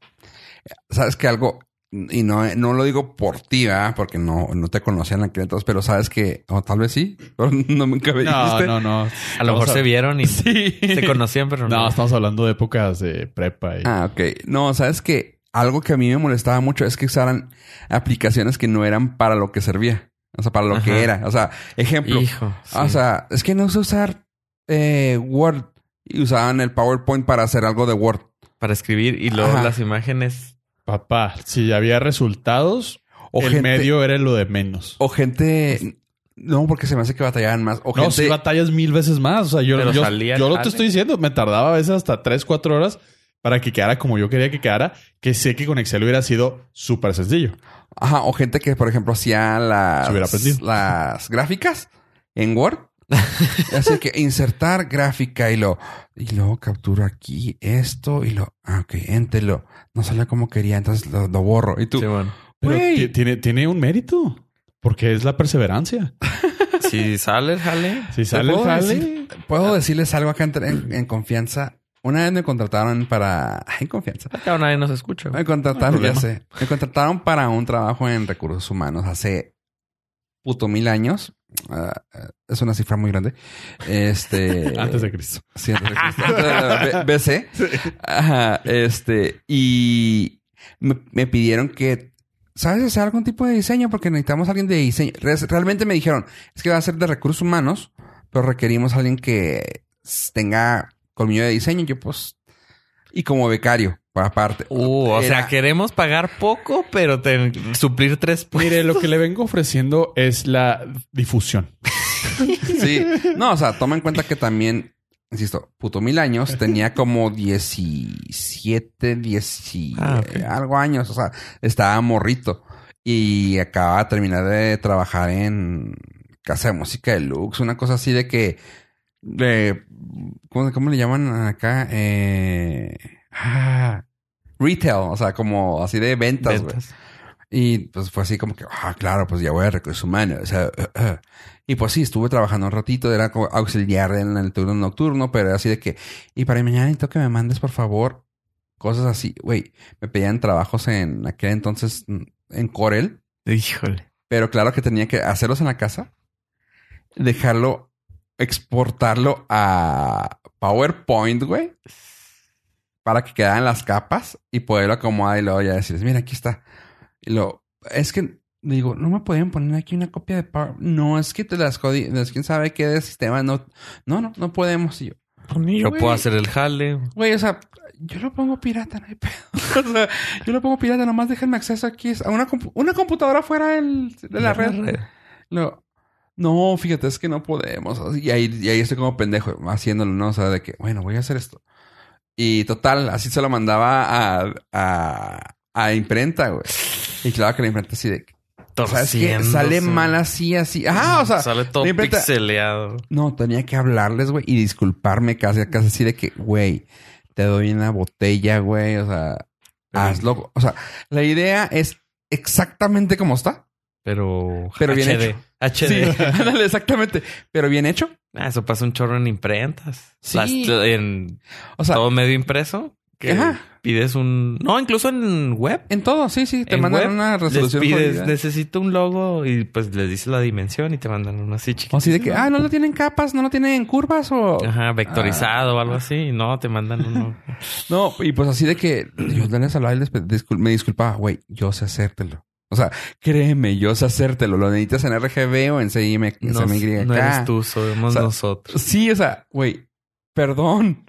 S1: sabes que algo, y no, no lo digo por ti, ¿verdad? porque no, no te conocían aquí entonces, pero sabes que, o tal vez sí, pero no nunca me dijiste.
S2: no, no.
S3: A lo mejor se vieron y
S2: Sí.
S3: se conocían, pero no.
S2: No, estamos hablando de épocas de prepa. Y...
S1: Ah, ok. No, sabes que algo que a mí me molestaba mucho es que usaran aplicaciones que no eran para lo que servía. O sea, para lo que
S3: Ajá.
S1: era. O sea, ejemplo.
S3: Hijo.
S2: Ah,
S1: O
S3: sí.
S1: sea, es que no sé usar eh, Word y usaban el PowerPoint para hacer algo de Word.
S3: para escribir y luego
S1: Ajá.
S3: las imágenes.
S2: Papá, si había resultados,
S1: O
S2: el
S1: gente-
S2: medio era lo de menos.
S1: O gente No, porque se me hace que batallaban más. O
S2: No,
S1: gente-
S2: si batallas mil veces más. O sea, yo,
S3: Pero
S2: yo,
S3: salía
S2: yo
S3: el
S2: lo te
S3: jale.
S2: estoy diciendo. Me tardaba a veces hasta 3, 4 horas para que quedara como yo quería que quedara. Que sé que con Excel hubiera sido súper sencillo.
S1: Ajá, o gente que, por ejemplo, hacía
S2: Se hubiera
S1: las,
S2: aprendido.
S1: las gráficas en Word. Así que insertar gráfica y lo, y luego capturo aquí esto y lo, ah, ok, enter, lo, no sale como quería, entonces lo, lo borro. Y tú,
S3: Sí, bueno.
S2: Pero
S1: Güey.
S2: ti- tiene, tiene un mérito. Porque es la perseverancia.
S3: Si sale el jale,
S2: Si sale el
S1: puedo
S2: jale...
S1: decir? puedo decirles algo acá entre- en, en confianza. Una vez me contrataron para, en confianza,
S3: ya nadie nos escucha. güey.
S1: me contrataron,
S2: No hay
S1: ya
S2: problema.
S1: sé, me contrataron para un trabajo en recursos humanos hace puto mil años. Ah, ah, es una cifra muy grande. Este.
S2: Antes de Cristo.
S1: Sí, antes de Cristo. B- BC. Ajá, este. Y me, me pidieron que, ¿sabes hacer algún tipo de diseño? Porque necesitamos a alguien de diseño. Res- Realmente me dijeron, es que va a ser de recursos humanos, pero requerimos a alguien que s- tenga colmillo de diseño. Yo, pues, y como becario, para aparte.
S3: Uh, o
S1: Era-
S3: sea, queremos pagar poco, pero ten- suplir tres pu-
S2: Mire, lo que le vengo ofreciendo es la difusión.
S1: Sí. No, o sea, toma en cuenta que también, insisto, puto mil años, tenía como 17, 10 y-
S3: Ah, ok.
S1: eh, algo años. O sea, estaba morrito. Y acababa de terminar de trabajar en Casa de Música Deluxe, una cosa así de que. De, ¿cómo, cómo le llaman acá? Eh, ah, retail, o sea, como así de ventas, güey.
S3: ventas.
S1: Y pues fue así como que, ah, claro, pues ya voy a recursos humanos. O sea, eh, eh. Y pues sí, estuve trabajando un ratito, era como auxiliar en el turno nocturno, pero era así de que, y para mañana necesito que me mandes, por favor, cosas así. Güey, me pedían trabajos en aquel entonces mm, en Corel,
S3: Híjole.
S1: pero claro que tenía que hacerlos en la casa, dejarlo, exportarlo a PowerPoint, güey, para que quedaran las capas y poderlo acomodar y luego ya decirles, mira, aquí está. Y lo, es que digo, no me podían poner aquí una copia de Power. No, es que te las jodí, es quién sabe qué de sistema, no, no, no, no podemos. Y Pues yo,
S3: Yo
S1: güey.
S3: puedo hacer el jale.
S1: Güey, o sea, yo lo pongo pirata, no hay pedo. O sea, yo lo pongo pirata, nomás déjenme acceso aquí. Es- A una, compu- una computadora fuera del- de la red. Lo- no, fíjate, es que no podemos. O sea, Y ahí, y ahí estoy como pendejo haciéndolo, ¿no? O sea, de que, bueno, voy a hacer esto. Y total, así se lo mandaba a, a, a imprenta, güey. Y claro que la imprenta así de... ¿Sabes qué? Sale
S3: Torciéndose.
S1: mal así, así. Ajá, o sea...
S3: sale todo
S1: la imprenta-
S3: pixeleado.
S1: No, tenía que hablarles, güey, y disculparme casi, casi así de que, güey, te doy una botella, güey, o sea, hazlo. O sea, la idea es exactamente como está.
S3: Pero,
S1: Pero bien
S3: HD.
S1: hecho.
S3: HD.
S1: Sí, ándale, exactamente. Pero bien hecho.
S3: Ah, eso pasa un chorro en imprentas.
S1: Sí.
S3: Las- en
S1: O sea,
S3: todo medio impreso. Que
S1: Ajá.
S3: pides un... No, incluso en web.
S1: en todo, sí, sí, te
S3: en
S1: mandan
S3: web
S1: una resolución.
S3: Les pides,
S1: jodida.
S3: necesito un logo y pues les dices la dimensión y te mandan uno así chiquito.
S1: O así de que, ah, no lo tienen en capas, no lo tienen en curvas o...
S3: Ajá, vectorizado o
S1: Ah.
S3: algo así. No, te mandan uno.
S1: No, y pues así de que yo le hablaba y les pe- discul- me disculpaba, güey, yo sé hacértelo. O sea, créeme, yo sé hacértelo. Lo necesitas en RGB o en CIM,
S3: No,
S1: CMYK.
S3: no eres tú, somos
S1: O sea,
S3: nosotros.
S1: Sí, o sea, güey, perdón,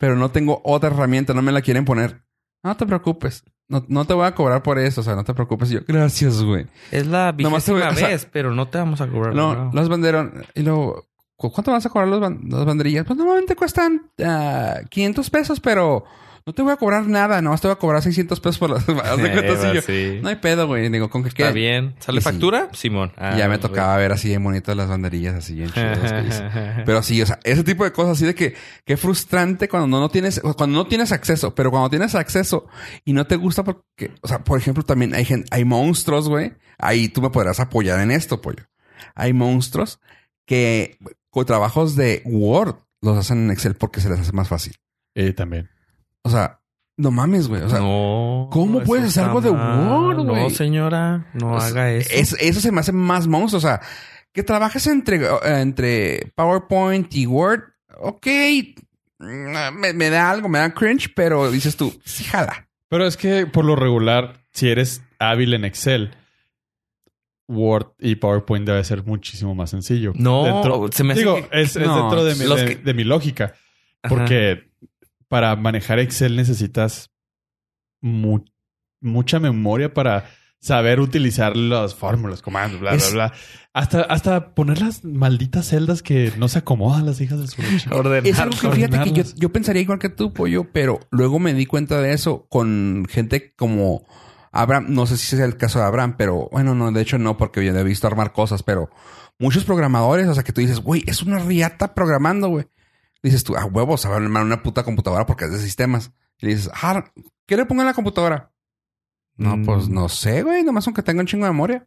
S1: pero no tengo otra herramienta, no me la quieren poner. No te preocupes, no, no te voy a cobrar por eso, o sea, no te preocupes. Y Yo, gracias, güey.
S3: Es la
S1: Nomás te voy-
S3: vigésima
S1: o sea,
S3: vez, pero no te vamos a cobrar.
S1: No,
S3: nada.
S1: los vendieron. Y luego, ¿cu- ¿cuánto vas a cobrar los, ban- los banderillas? Pues normalmente cuestan ah, 500 pesos, pero no te voy a cobrar nada, nomás te voy a cobrar 600 pesos por las. haz de cuenta,
S3: Eh,
S1: así yo,
S3: sí.
S1: No hay pedo, güey. Digo, con que
S3: Está
S1: quede.
S3: bien.
S1: Y
S3: ¿Sale
S1: sí.
S3: factura? Simón. Ah,
S1: Y ya me tocaba ver así de bonito las banderillas, así bien chidas. que hice.
S3: Pero
S1: Pero sí, o sea, ese tipo de cosas así de que qué frustrante cuando no, no tienes cuando no tienes acceso, pero cuando tienes acceso y no te gusta porque, o sea, por ejemplo, también hay gen- hay monstruos, güey. Ahí tú me podrás apoyar en esto, pollo. Hay monstruos que con trabajos de Word los hacen en Excel porque se les hace más fácil.
S2: Eh, también.
S1: O sea, no mames, güey. O sea,
S3: no.
S1: ¿cómo
S3: eso
S1: puedes hacer
S3: está
S1: algo de
S3: mal.
S1: Word,
S3: No,
S1: güey?
S3: señora. No
S1: O sea,
S3: haga eso.
S1: es- eso se me hace más monstruo. O sea, que trabajes entre, entre PowerPoint y Word, ok, mm, me, me da algo, me da cringe, pero dices tú, sí, jala.
S2: Pero es que por lo regular, si eres hábil en Excel, Word y PowerPoint debe ser muchísimo más sencillo.
S3: No, se me hace
S2: digo,
S3: que-
S2: es, es
S1: no,
S2: dentro de mi,
S3: los
S2: de-
S3: que-
S2: de mi lógica.
S3: Ajá.
S2: Porque para manejar Excel necesitas mu- mucha memoria para saber utilizar las fórmulas, comandos, bla,
S3: Es-
S2: bla, bla. Hasta, hasta poner las malditas celdas que no se acomodan las hijas de su leche.
S3: Ordenar.
S1: Es algo que fíjate que yo,
S2: ordenarlas.
S1: yo pensaría igual que tú, pollo, pero luego me di cuenta de eso con gente como Abraham. No sé si es el caso de Abraham, pero bueno, no, de hecho no, porque yo le he visto armar cosas, pero muchos programadores, o sea, que tú dices, güey, es una riata programando, güey. Dices tú, a huevos, a armar una puta computadora porque es de sistemas. Y dices, ah, ¿qué le pongo en la computadora? No,
S3: Mm.
S1: pues no sé, güey, nomás aunque tenga un chingo de memoria.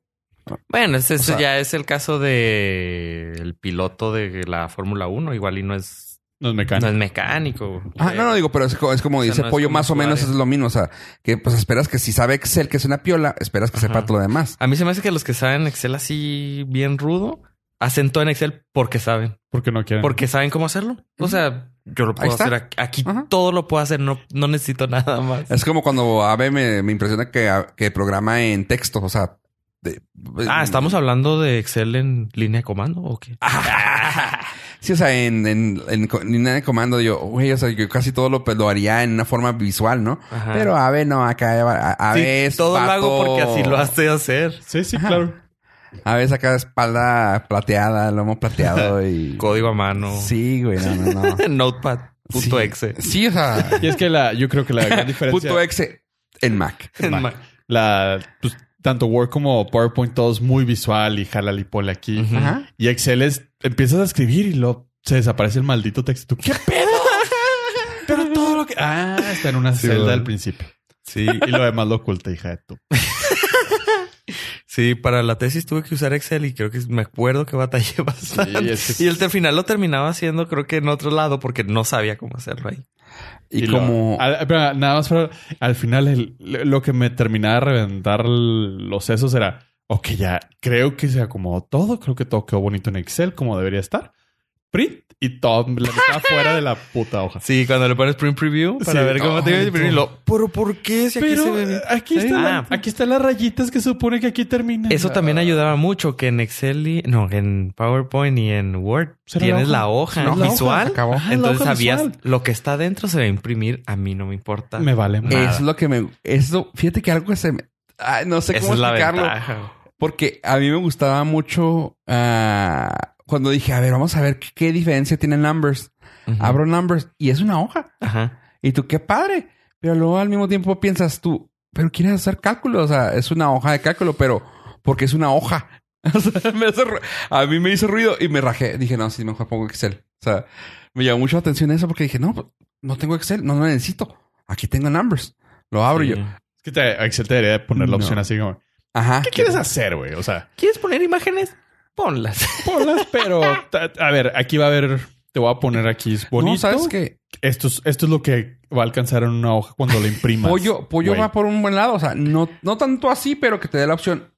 S3: Bueno, ese, ese
S1: sea-
S3: ya es el caso de el piloto de la Fórmula 1. Igual y no es,
S2: No es
S3: no
S2: mecánico.
S3: es mecánico.
S1: Ah, no, no digo, pero es, co- es como
S3: O sea,
S1: dice
S3: no es
S1: Pollo,
S3: como
S1: más o
S3: usuario.
S1: menos es lo mismo. O sea, que pues esperas que si sabe Excel, que es una piola, esperas que
S3: Ajá.
S1: sepa todo lo demás.
S3: A mí se me hace que los que saben Excel así bien rudo, hacen todo en Excel porque saben.
S2: Porque no quieren.
S3: Porque saben cómo hacerlo. O sea, yo lo
S1: Ahí
S3: puedo
S1: está.
S3: hacer aquí. aquí
S1: Ajá.
S3: todo lo puedo hacer. No, no necesito nada más.
S1: Es como cuando Abe me, me impresiona que, ah, que programa en texto. O sea, de- mm,
S3: Ah, estamos hablando de Excel en línea de comando o qué?
S1: Ah, Sí, o sea, en, en, en co- en línea de comando, yo, güey, o sea, yo casi todo lo, pues, lo haría en una forma visual, ¿no?
S3: Ajá.
S1: Pero Abe no, acá va- a-
S3: Sí,
S1: Abe es
S3: todo lo hago
S1: vato-
S3: porque así lo hace hacer.
S2: Sí, sí,
S1: Ajá.
S2: claro.
S1: Abe saca espalda plateada, lomo plateado y.
S3: Código a mano.
S1: Sí, güey, no, no, no.
S3: Notepad.exe.
S1: Sí, o sea.
S2: Y es que la, yo creo que la gran diferencia.
S1: Punto exe en Mac.
S2: en Mac. La, pues, tanto Word como PowerPoint, todo es muy visual y jala y pole aquí.
S3: Ujú.
S1: Ajá.
S2: Y Excel es, empiezas a escribir y lo se desaparece el maldito texto. ¿Qué pedo? Pero todo lo que. Ah, está en una
S3: Sí,
S2: celda
S3: bueno.
S2: al principio.
S3: Sí,
S2: Y lo demás lo oculta, hija de tú.
S3: sí, para la tesis tuve que usar Excel y creo que me acuerdo que batallé bastante.
S2: es que-
S3: Y el al final lo terminaba haciendo, creo que en otro lado, porque no sabía cómo hacerlo ahí.
S1: Y,
S2: lo-
S1: como.
S2: al- pero nada más para- al final el- lo que me terminaba de reventar l- los sesos era, ok, ya creo que se acomodó todo, creo que todo quedó bonito en Excel como debería estar. Print y todo, la mitad fuera de la puta hoja.
S3: Sí, cuando le pones print preview para
S2: Sí.
S3: ver cómo te iba a
S2: Ay,
S3: imprimir,
S2: todo.
S3: lo, pero ¿por qué? Si aquí
S2: Pero
S3: se ve bien?
S2: eh, aquí,
S3: Sí.
S2: está la-
S3: Ah.
S2: aquí están las rayitas que supone que aquí termina.
S3: Eso también ayudaba mucho que en Excel, y- no, en PowerPoint y en Word
S2: Será
S3: tienes
S2: la
S3: la hoja,
S1: No, la hoja,
S3: visual.
S1: se acabó.
S2: Ajá, la
S3: Entonces
S2: hoja
S3: sabías
S2: Ah, visual.
S3: lo que está dentro se va a imprimir. A mí no me importa.
S2: Me vale más.
S3: Eh, nada.
S1: Es lo que me. Es lo, fíjate que algo que se me. ay, no sé
S3: Esa
S1: cómo
S3: es la
S1: explicarlo.
S3: ventaja.
S1: Porque a mí me gustaba mucho. ah, cuando dije, a ver, vamos a ver qué, qué diferencia tiene Numbers.
S3: Ujú.
S1: Abro Numbers y es una hoja.
S3: Ajá.
S1: Y tú, qué padre. Pero luego al mismo tiempo piensas tú, pero quieres hacer cálculo. O sea, es una hoja de cálculo, pero porque es una hoja. O sea, me hace ru- a mí me hizo ruido y me rajé. Dije, no, sí, mejor pongo Excel. O sea, me llamó mucho la atención eso porque dije, no, pues, no tengo Excel, no lo necesito. Aquí tengo Numbers. Lo abro y yo.
S3: Sí.
S2: Es que te- Excel te debería de poner la
S1: No.
S2: opción así como,
S1: Ajá.
S2: ¿qué quieres hacer, güey? O sea,
S3: ¿Quieres poner imágenes? Ponlas.
S2: ponlas, pero ta- a ver, aquí va a haber, te voy a poner aquí, es bonito.
S1: No, ¿sabes qué?
S2: Esto es, esto es lo que va a alcanzar en una hoja cuando la imprimas.
S1: Pollo, pollo
S2: güey.
S1: va por un buen lado. O sea, no, no tanto así, pero que te dé la opción.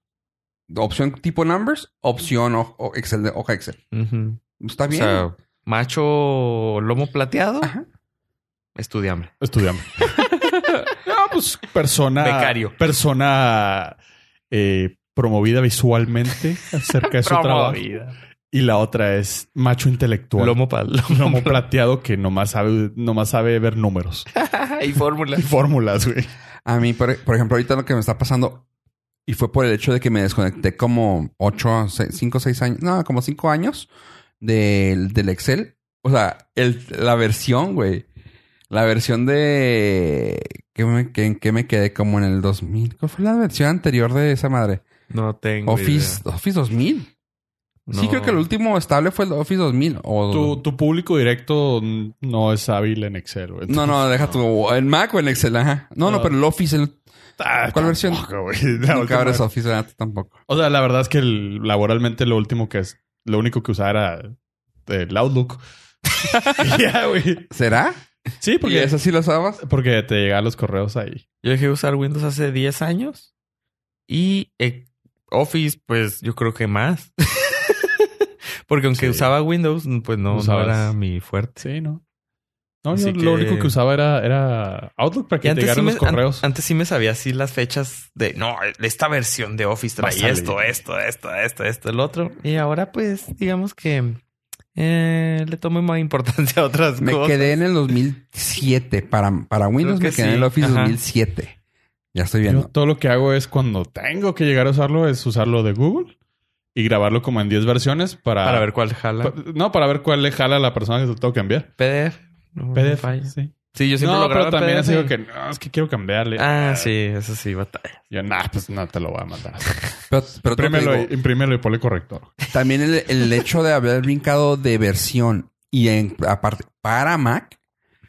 S1: Opción tipo Numbers, opción o, o Excel, de- hoja Excel.
S3: Ujú.
S1: Está
S3: O
S1: bien.
S3: sea, macho lomo plateado,
S1: Ajá.
S3: estudiame.
S2: Estudiame. no, pues persona.
S3: Becario.
S2: Persona eh, promovida visualmente acerca de su trabajo. Y la otra es macho intelectual.
S3: Lomo pa- lomo-
S2: Lomo plateado que nomás sabe, nomás sabe ver números
S3: y fórmula.
S2: y fórmulas, güey.
S1: A mí, por, por ejemplo, ahorita lo que me está pasando, y fue por el hecho de que me desconecté como 8, 5, 6 años, no, como 5 años del, del Excel. O sea, el, la versión, güey. La versión de... ¿qué me, que, ¿En qué me quedé? Como en el 2000. ¿Cuál fue la versión anterior de esa madre?
S3: No tengo.
S1: Office, Office 2000.
S3: idea.
S1: Sí,
S3: No.
S1: creo que el último estable fue el Office 2000. O...
S2: Tu, tu público directo mm, no es hábil en Excel, güey.
S1: No, no, deja tu... ¿En Mac o en Excel? Ajá. No, no,
S2: No.
S1: pero el Office... El...
S2: Ah,
S1: ¿Cuál versión?
S2: tampoco, güey. La
S1: Nunca
S2: última-
S1: abres Office, ¿verdad? Tú Tampoco.
S2: O sea, la verdad es que el- laboralmente lo último que es, lo único que usaba era el Outlook. Ya, güey.
S1: ¿Será?
S2: Sí,
S1: ¿Y
S2: porque,
S1: eso sí lo sabes?
S2: porque te llegaban los correos ahí.
S3: Yo dejé de usar Windows hace 10 años y eh, Office, pues yo creo que más. Porque aunque
S2: Sí.
S3: usaba Windows, pues no, no
S2: Usabas.
S3: era mi fuerte.
S2: Sí, ¿no? No,
S3: Así
S2: yo lo
S3: que-
S2: único que usaba era, era Outlook para
S3: Y
S2: que te
S3: antes sí,
S2: llegaran
S3: me,
S2: los correos.
S3: an- antes sí me sabía así las fechas de no, esta versión de Office
S2: Va a
S3: traía
S2: salir.
S3: esto, esto, esto, esto, esto, el otro. Y ahora, pues, digamos que eh, le tomo más importancia a otras
S1: Me
S3: cosas.
S1: quedé en el 2007. Para, para Windows
S3: que
S1: me quedé en
S3: sí.
S1: el Office
S3: Ajá.
S1: 2007. Ya estoy
S2: Yo
S1: viendo.
S2: todo lo que hago es cuando tengo que llegar a usarlo, es usarlo de Google y grabarlo como en 10 versiones para...
S3: Para ver cuál jala.
S2: pa- no, para ver cuál le jala a la persona que se lo tengo que cambiar.
S3: PDF. No, no
S2: PDF,
S3: falla.
S2: sí.
S3: Sí, yo siempre
S2: No,
S3: lo
S2: pero
S3: grabo en
S2: también
S3: PDF.
S2: es algo que... No, es que quiero cambiarle.
S3: Ah, sí, eso sí, batalla.
S2: Yo, nah, pues no te lo voy a mandar.
S1: Pero, pero te
S2: Imprímelo,
S1: digo,
S2: y- imprímelo y ponle corrector.
S1: también el, el hecho de haber brincado de versión y en, aparte para Mac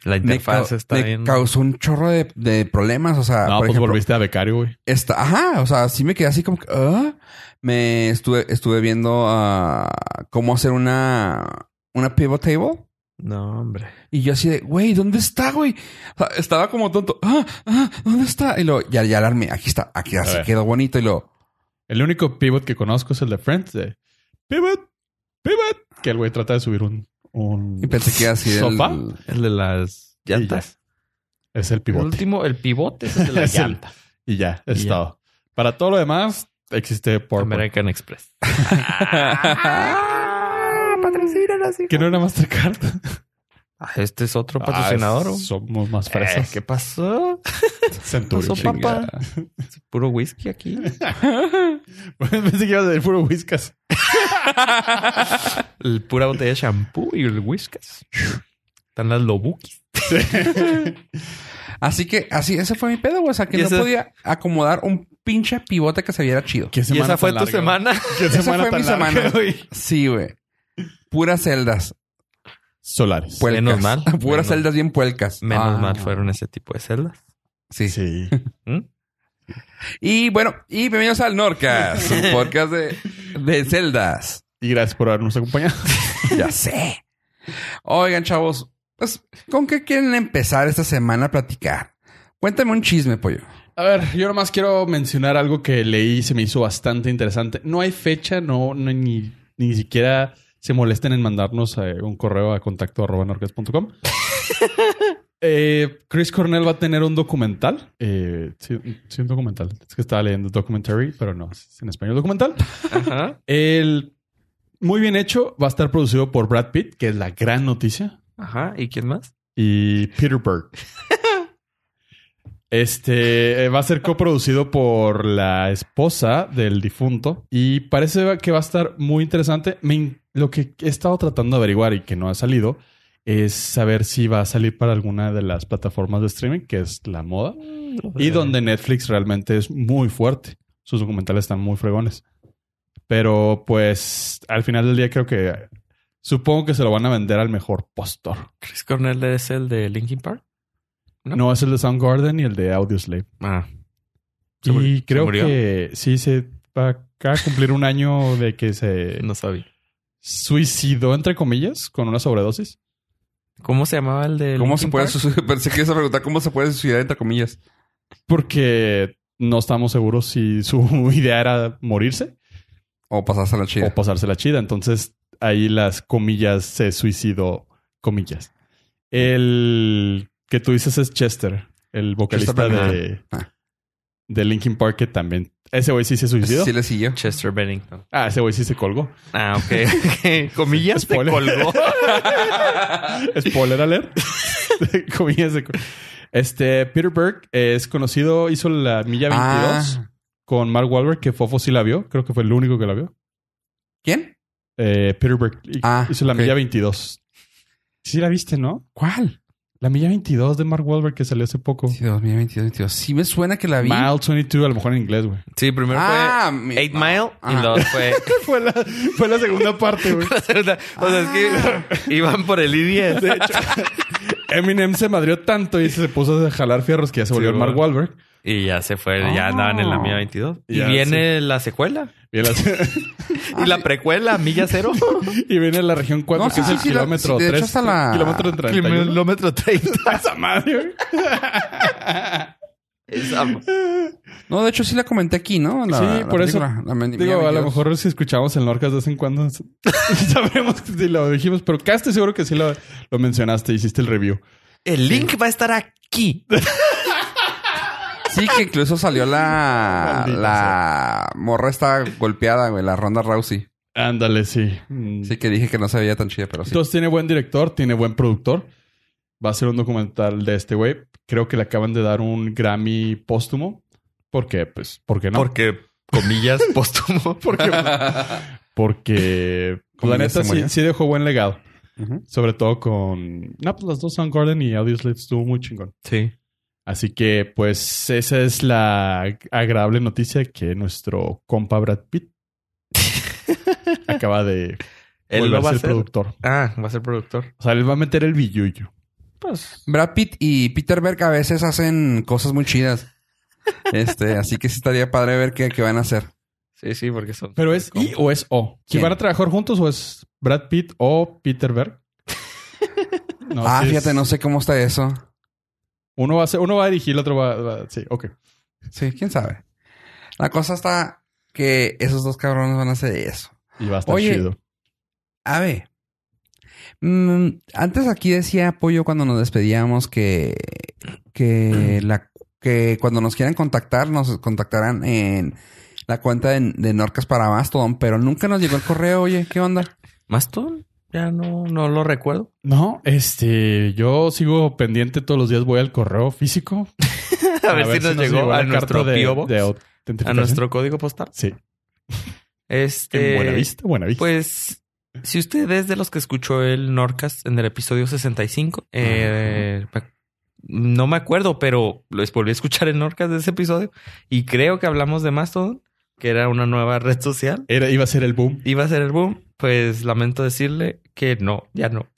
S3: La
S1: me,
S3: interfaz
S1: cau-
S3: está
S1: me
S3: bien.
S1: causó un chorro de, de problemas. O
S3: Ah,
S1: sea,
S2: no,
S1: por
S2: pues
S1: ejemplo,
S2: volviste a becario, güey.
S1: esta- ajá, o sea, sí me quedé así como que, ah. me estuve, estuve viendo ah, cómo hacer una, una pivot table.
S3: No, hombre.
S1: Y yo así de, güey, ¿dónde está, güey? O sea, estaba como tonto. Ah, ah, ¿dónde está? Y luego, ya, ya alarmé. Aquí está. Aquí así
S2: ver.
S1: quedó bonito. Y luego,
S2: El único pivot que conozco es el de Friends. de pivot, pivot. Que el güey trata de subir un... un
S1: y pensé que era así. del-
S2: ¿Sopa?
S3: El de las llantas.
S2: llantas. Es el
S3: el
S2: pivote.
S3: último, el pivote es el de las
S2: Es el-
S3: llantas.
S2: Y ya,
S3: Y
S2: es
S3: ya.
S2: todo. Para todo lo demás, existe por
S3: American Express.
S2: Que no era Mastercard.
S3: Ah, Este es otro patrocinador.
S2: Ah,
S3: ¿o?
S2: somos más
S3: Eh,
S2: fresas.
S3: ¿Qué pasó?
S2: Centurio.
S3: pasó,
S2: chingada.
S3: Puro whisky aquí.
S2: Pensé que ibas a decir puro whiskas.
S3: El pura botella de shampoo y el whiskas. Están las lobukis.
S1: Así que, así, ese fue mi pedo, güey. O sea, que
S3: Y
S1: no
S3: ese-
S1: podía acomodar un pinche pivote que se viera chido.
S2: ¿Qué
S3: Y
S2: semana
S3: esa fue
S2: tan
S3: tu
S2: larga,
S3: semana.
S2: güey? ¿Qué
S1: Esa
S2: semana
S1: fue
S2: tan
S1: mi
S2: larga,
S1: semana.
S2: güey?
S1: Sí, güey. Puras celdas.
S2: Solares.
S1: Puelcas.
S3: Menos mal.
S1: Puras
S3: Menos-
S1: celdas bien puelcas.
S3: Menos
S1: Ah.
S3: mal fueron ese tipo de celdas.
S1: Sí.
S2: Sí.
S3: ¿Mm?
S1: Y bueno, y bienvenidos al Norcas, un podcast de, de celdas.
S2: Y gracias por habernos acompañado.
S1: Ya sé. Oigan, chavos, pues, ¿con qué quieren empezar esta semana a platicar? Cuéntame un chisme, pollo.
S2: A ver, yo nomás quiero mencionar algo que leí y se me hizo bastante interesante. No hay fecha, no, no hay ni, ni siquiera se molesten en mandarnos eh, un correo a contacto arroba norcas.com. Eh, Chris Cornell va a tener un documental. Eh, sí, sí, un documental. Es que estaba leyendo documentary, pero no, es en español documental.
S3: Ajá.
S2: El muy bien hecho va a estar producido por Brad Pitt, que es la gran noticia
S3: Ajá. ¿Y quién más?
S2: y Peter Berg. Este eh, va a ser coproducido por la esposa del difunto y parece que va a estar muy interesante. Me in- lo que he estado tratando de averiguar y que no ha salido es saber si va a salir para alguna de las plataformas de streaming, que es la moda,
S3: Eh,
S2: y donde Netflix realmente es muy fuerte. Sus documentales están muy fregones. Pero pues al final del día creo que supongo que se lo van a vender al mejor postor.
S3: Chris Cornell es el de Linkin Park. ¿no?
S2: No, es el de Soundgarden y el de Audioslave.
S3: Ah. Se murió-
S2: Y
S3: se
S2: creo
S3: murió.
S2: que sí se va acá a cumplir un año de que se
S3: No sabía.
S2: suicidó, entre comillas, con una sobredosis.
S3: ¿Cómo se llamaba el de
S1: ¿Cómo
S3: Linkin
S1: se puede
S3: Park?
S1: suicidar? Pensé que ibas a preguntar cómo se puede suicidar, entre comillas.
S2: Porque no estamos seguros si su idea era morirse
S1: O pasarse la chida.
S2: o pasársela chida. Entonces ahí las comillas se suicidó, comillas. El que tú dices es Chester, el vocalista
S1: Chester
S2: de,
S1: Ah.
S2: de Linkin Park, que también. Ese güey sí se suicidó.
S1: Sí le siguió.
S3: Chester Bennington.
S2: Ah, ese güey sí se colgó.
S3: Ah, ok. Comillas se
S2: Spoiler.
S3: colgó.
S2: Spoiler alert. Comillas de co- Este, Peter Berg es conocido, hizo la milla 22
S1: Ah,
S2: con Mark Wahlberg, que Fofo sí la vio. Creo que fue el único que la vio.
S1: ¿Quién?
S2: Eh, Peter Berg hi-
S1: Ah,
S2: hizo la
S1: ok.
S2: milla 22. Sí la viste, ¿no?
S1: ¿Cuál?
S2: La milla 22 de Mark Wahlberg que salió hace poco.
S1: Sí, 2022, 22. Sí me suena que la vi.
S2: Mile 22, a lo mejor en inglés, güey.
S3: Sí, primero
S1: Ah, mi-
S3: fue Eight Mile
S1: Ajá.
S2: ah.
S3: y luego fue
S2: fue, la, fue la segunda parte, güey.
S3: la segunda. O sea,
S2: Ah.
S3: es que iban por el I-10. De hecho.
S2: Eminem se madrió tanto y se puso a jalar fierros que ya se volvió el
S3: güey.
S2: Mark Wahlberg.
S3: Y ya se fue, ya
S1: Ah.
S3: andaban en la milla 22. Y
S2: Ya, Ah.
S3: viene la secuela.
S2: Y, la-
S3: Y la precuela, milla cero.
S2: y viene la región 4,
S1: No,
S2: que
S1: sí,
S2: es el
S1: sí, sí, la-
S2: kilómetro
S1: sí, de hecho,
S2: 3.
S1: hasta la-
S2: Kilómetro 31.
S3: Kilómetro 30.
S2: ¡Esa madre!
S3: Esa-
S1: No, de hecho sí la comenté aquí, ¿no? La-
S2: Sí,
S1: la
S2: por eso.
S1: película, la men- Mía
S2: Digo, a lo
S1: 22.
S2: mejor si escuchamos el Norcas de vez en cuando s- sabremos si lo dijimos, pero casi estoy seguro que sí lo, lo mencionaste, hiciste el review.
S3: El link va a estar aquí.
S1: Sí, que incluso salió la...
S2: Maldita
S1: la morra está golpeada, güey. La Ronda Rousey.
S2: Ándale, sí. Mm.
S1: Sí que dije que no se veía tan chida, pero sí.
S2: Entonces tiene buen director, tiene buen productor. Va a ser un documental de este güey. Creo que le acaban de dar un Grammy póstumo. Porque, pues, ¿por qué no?
S3: Porque, comillas, póstumo.
S2: Porque, porque pues, la
S1: Como ya
S2: neta
S1: se
S2: sí,
S1: murió.
S2: sí dejó buen legado.
S1: Ujú.
S2: Sobre todo con... No, pues las dos Soundgarden y Audioslave estuvo muy chingón.
S3: Sí.
S2: Así que, pues, esa es la agradable noticia que nuestro compa Brad Pitt acaba de
S3: Él
S2: volverse
S3: lo va a
S2: el
S3: hacer.
S2: productor.
S3: Ah, va a ser productor.
S2: O sea, él va a meter el billuyo.
S3: Pues.
S1: Brad Pitt y Peter Berg a veces hacen cosas muy chidas. Este, así que sí estaría padre ver qué, qué van a hacer.
S3: Sí, sí, porque son.
S2: Pero es I o es O. Si
S1: ¿Quién?
S2: van a trabajar juntos o es Brad Pitt o Peter Berg. No,
S1: ah,
S2: sí es-
S1: fíjate, no sé cómo está eso.
S2: Uno va a, ser- uno va a dirigir, el otro va, va- Sí, ok.
S1: Sí, quién sabe. La cosa está que esos dos cabrones van a hacer eso.
S2: Y va a estar
S1: Oye.
S2: chido.
S1: A ver. Mm, antes aquí decía Pollo cuando nos despedíamos que, que, la, que cuando nos quieran contactar, nos contactarán en la cuenta de, de Norcas para Mastodon, pero nunca nos llegó el correo. Oye, ¿qué onda?
S3: Mastodon. Ya no, no lo recuerdo.
S2: No, este... Yo sigo pendiente todos los días. Voy al correo físico.
S3: A, ver, si nos, llegó
S2: la
S3: a
S2: carta
S3: nuestro
S2: de-
S3: P.O. Box,
S2: de
S3: a
S2: autentificación.
S3: nuestro código postal.
S2: Sí.
S3: Este.
S2: En Buenavista, Buenavista.
S3: Pues, si usted es de los que escuchó el Norcast en el episodio 65, eh, me- no me acuerdo, pero les volví a escuchar el Norcast de ese episodio y creo que hablamos de Mastodon, que era una nueva red social.
S2: Era, iba a ser el boom.
S3: Iba a ser el boom, pues lamento decirle que no, ya no.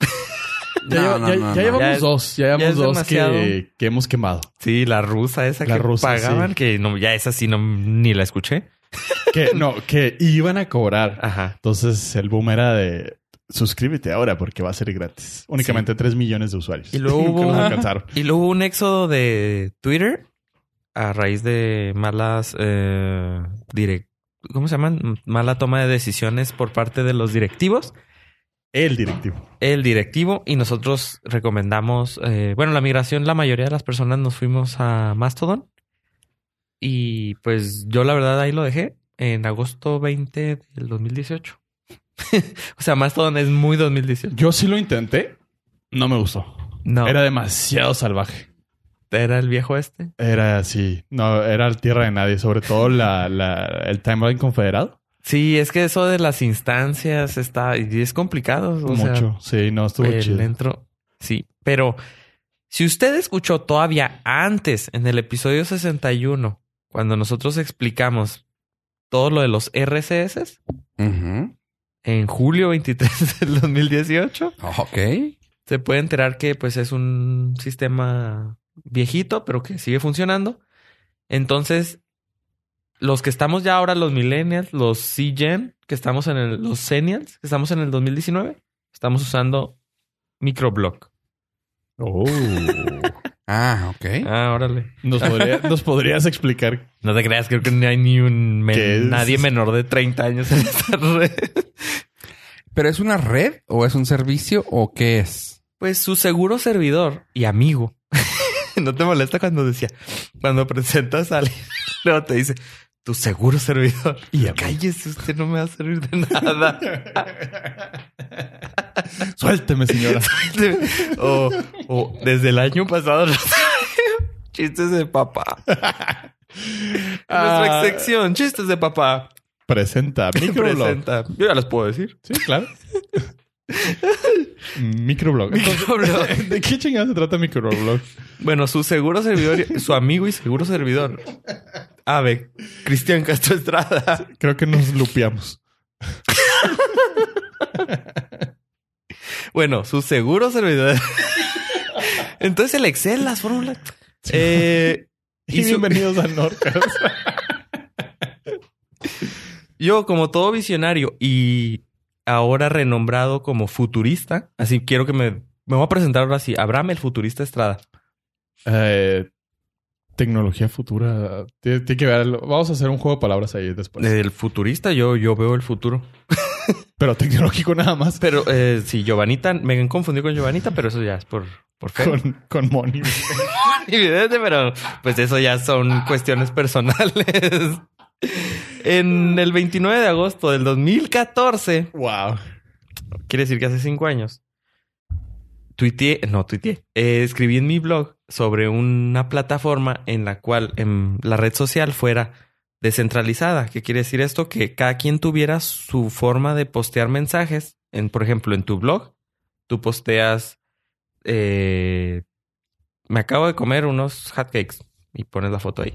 S2: Ya, lleva- ya- ya llevamos
S3: Ya es-
S2: dos. Ya
S3: ya es
S2: llevamos dos
S3: demasiado.
S2: que, que hemos quemado.
S3: Sí, la rusa esa
S2: La
S3: que
S2: rusa,
S3: pagaban,
S2: sí.
S3: que no, ya esa sí no, ni la escuché.
S2: Que no, que iban a cobrar.
S3: Ajá.
S2: Entonces el boom era de suscríbete ahora porque va a ser gratis. Únicamente 3 millones de usuarios.
S3: Y luego hubo-
S2: Que nos alcanzaron.
S3: Y luego hubo un éxodo de Twitter a raíz de malas eh, direc- ¿cómo se llaman? Mala toma de decisiones por parte de los directivos.
S2: El directivo.
S3: El directivo y nosotros recomendamos, eh, bueno, la migración, la mayoría de las personas nos fuimos a Mastodon y pues yo la verdad ahí lo dejé en agosto 20 del 2018. o sea, Mastodon es muy 2018.
S2: Yo sí lo intenté. No me gustó.
S3: No,
S2: Era
S3: era,
S2: demasiado salvaje.
S3: el viejo este.
S2: Era así. No, era tierra de nadie. Sobre todo la, la- el timeline confederado.
S3: Sí, es que eso de las instancias está y es complicado. O sea,
S2: Mucho. sí, no, estuvo
S3: el
S2: chido.
S3: entro- Sí, pero si usted escuchó todavía antes en el episodio 61, cuando nosotros explicamos todo lo de los RCS
S1: Ujú.
S3: en julio 23 del 2018,
S1: Ah, Ok.
S3: se puede enterar que pues es un sistema viejito, pero que sigue funcionando. Entonces, los que estamos ya ahora, los millennials, los C-Gen, que estamos en el, los senials, que estamos en el 2019, estamos usando microblog.
S2: Oh.
S1: Ah, ok.
S3: Ah, órale.
S2: ¿Nos, podría- ¿Nos podrías explicar
S3: No te creas, creo que no hay ni un men-
S2: ¿Qué es?
S3: nadie menor de 30 años en esta red.
S1: ¿Pero es una red o es un servicio o qué es?
S3: Pues su seguro servidor y amigo. no te molesta cuando decía, cuando presentas a alguien, luego te dice, tu seguro servidor.
S2: Y
S3: Y
S2: amigo.
S3: cállese, usted no me va a servir de nada.
S2: Suélteme, señora.
S3: o, o desde el año pasado. no sé. Chistes de papá. En
S2: Ah,
S3: Nuestra sección, chistes de papá.
S2: Presenta microblog.
S3: Presenta. Yo ya los puedo decir.
S2: Sí, claro. Mm, microblog. Entonces,
S3: Microblog.
S2: ¿De qué chingada se trata microblog?
S3: Bueno, su seguro servidor, y- su amigo y seguro servidor. Ave, Cristian Castro Estrada.
S2: Creo que nos lupeamos.
S3: Bueno, su seguro servidor. Entonces el Excel, las fórmulas. Eh,
S2: Y,
S3: Y su-
S2: bienvenidos a Norcas.
S3: yo, como todo visionario y ahora renombrado como futurista, así quiero que me, me voy a presentar ahora sí. Abraham, el futurista Estrada.
S2: Eh, tecnología futura. Tiene, tiene que verlo. Vamos a hacer un juego de palabras ahí después.
S3: El futurista, yo, yo veo el futuro.
S2: Pero tecnológico nada más.
S3: Pero eh, sí, Giovanita, me han confundido con Giovanita, pero eso ya es por, por fe.
S2: Con, con Moni.
S3: Evidente, pero pues eso ya son cuestiones personales. En el 29 de agosto del 2014,
S2: wow.
S3: quiere decir que hace cinco años, tuiteé, no tuiteé, eh, escribí en mi blog sobre una plataforma en la cual em, la red social fuera descentralizada. ¿Qué quiere decir esto? Que cada quien tuviera su forma de postear mensajes. En, por ejemplo, en tu blog, tú posteas, eh, me acabo de comer unos hotcakes y pones la foto ahí.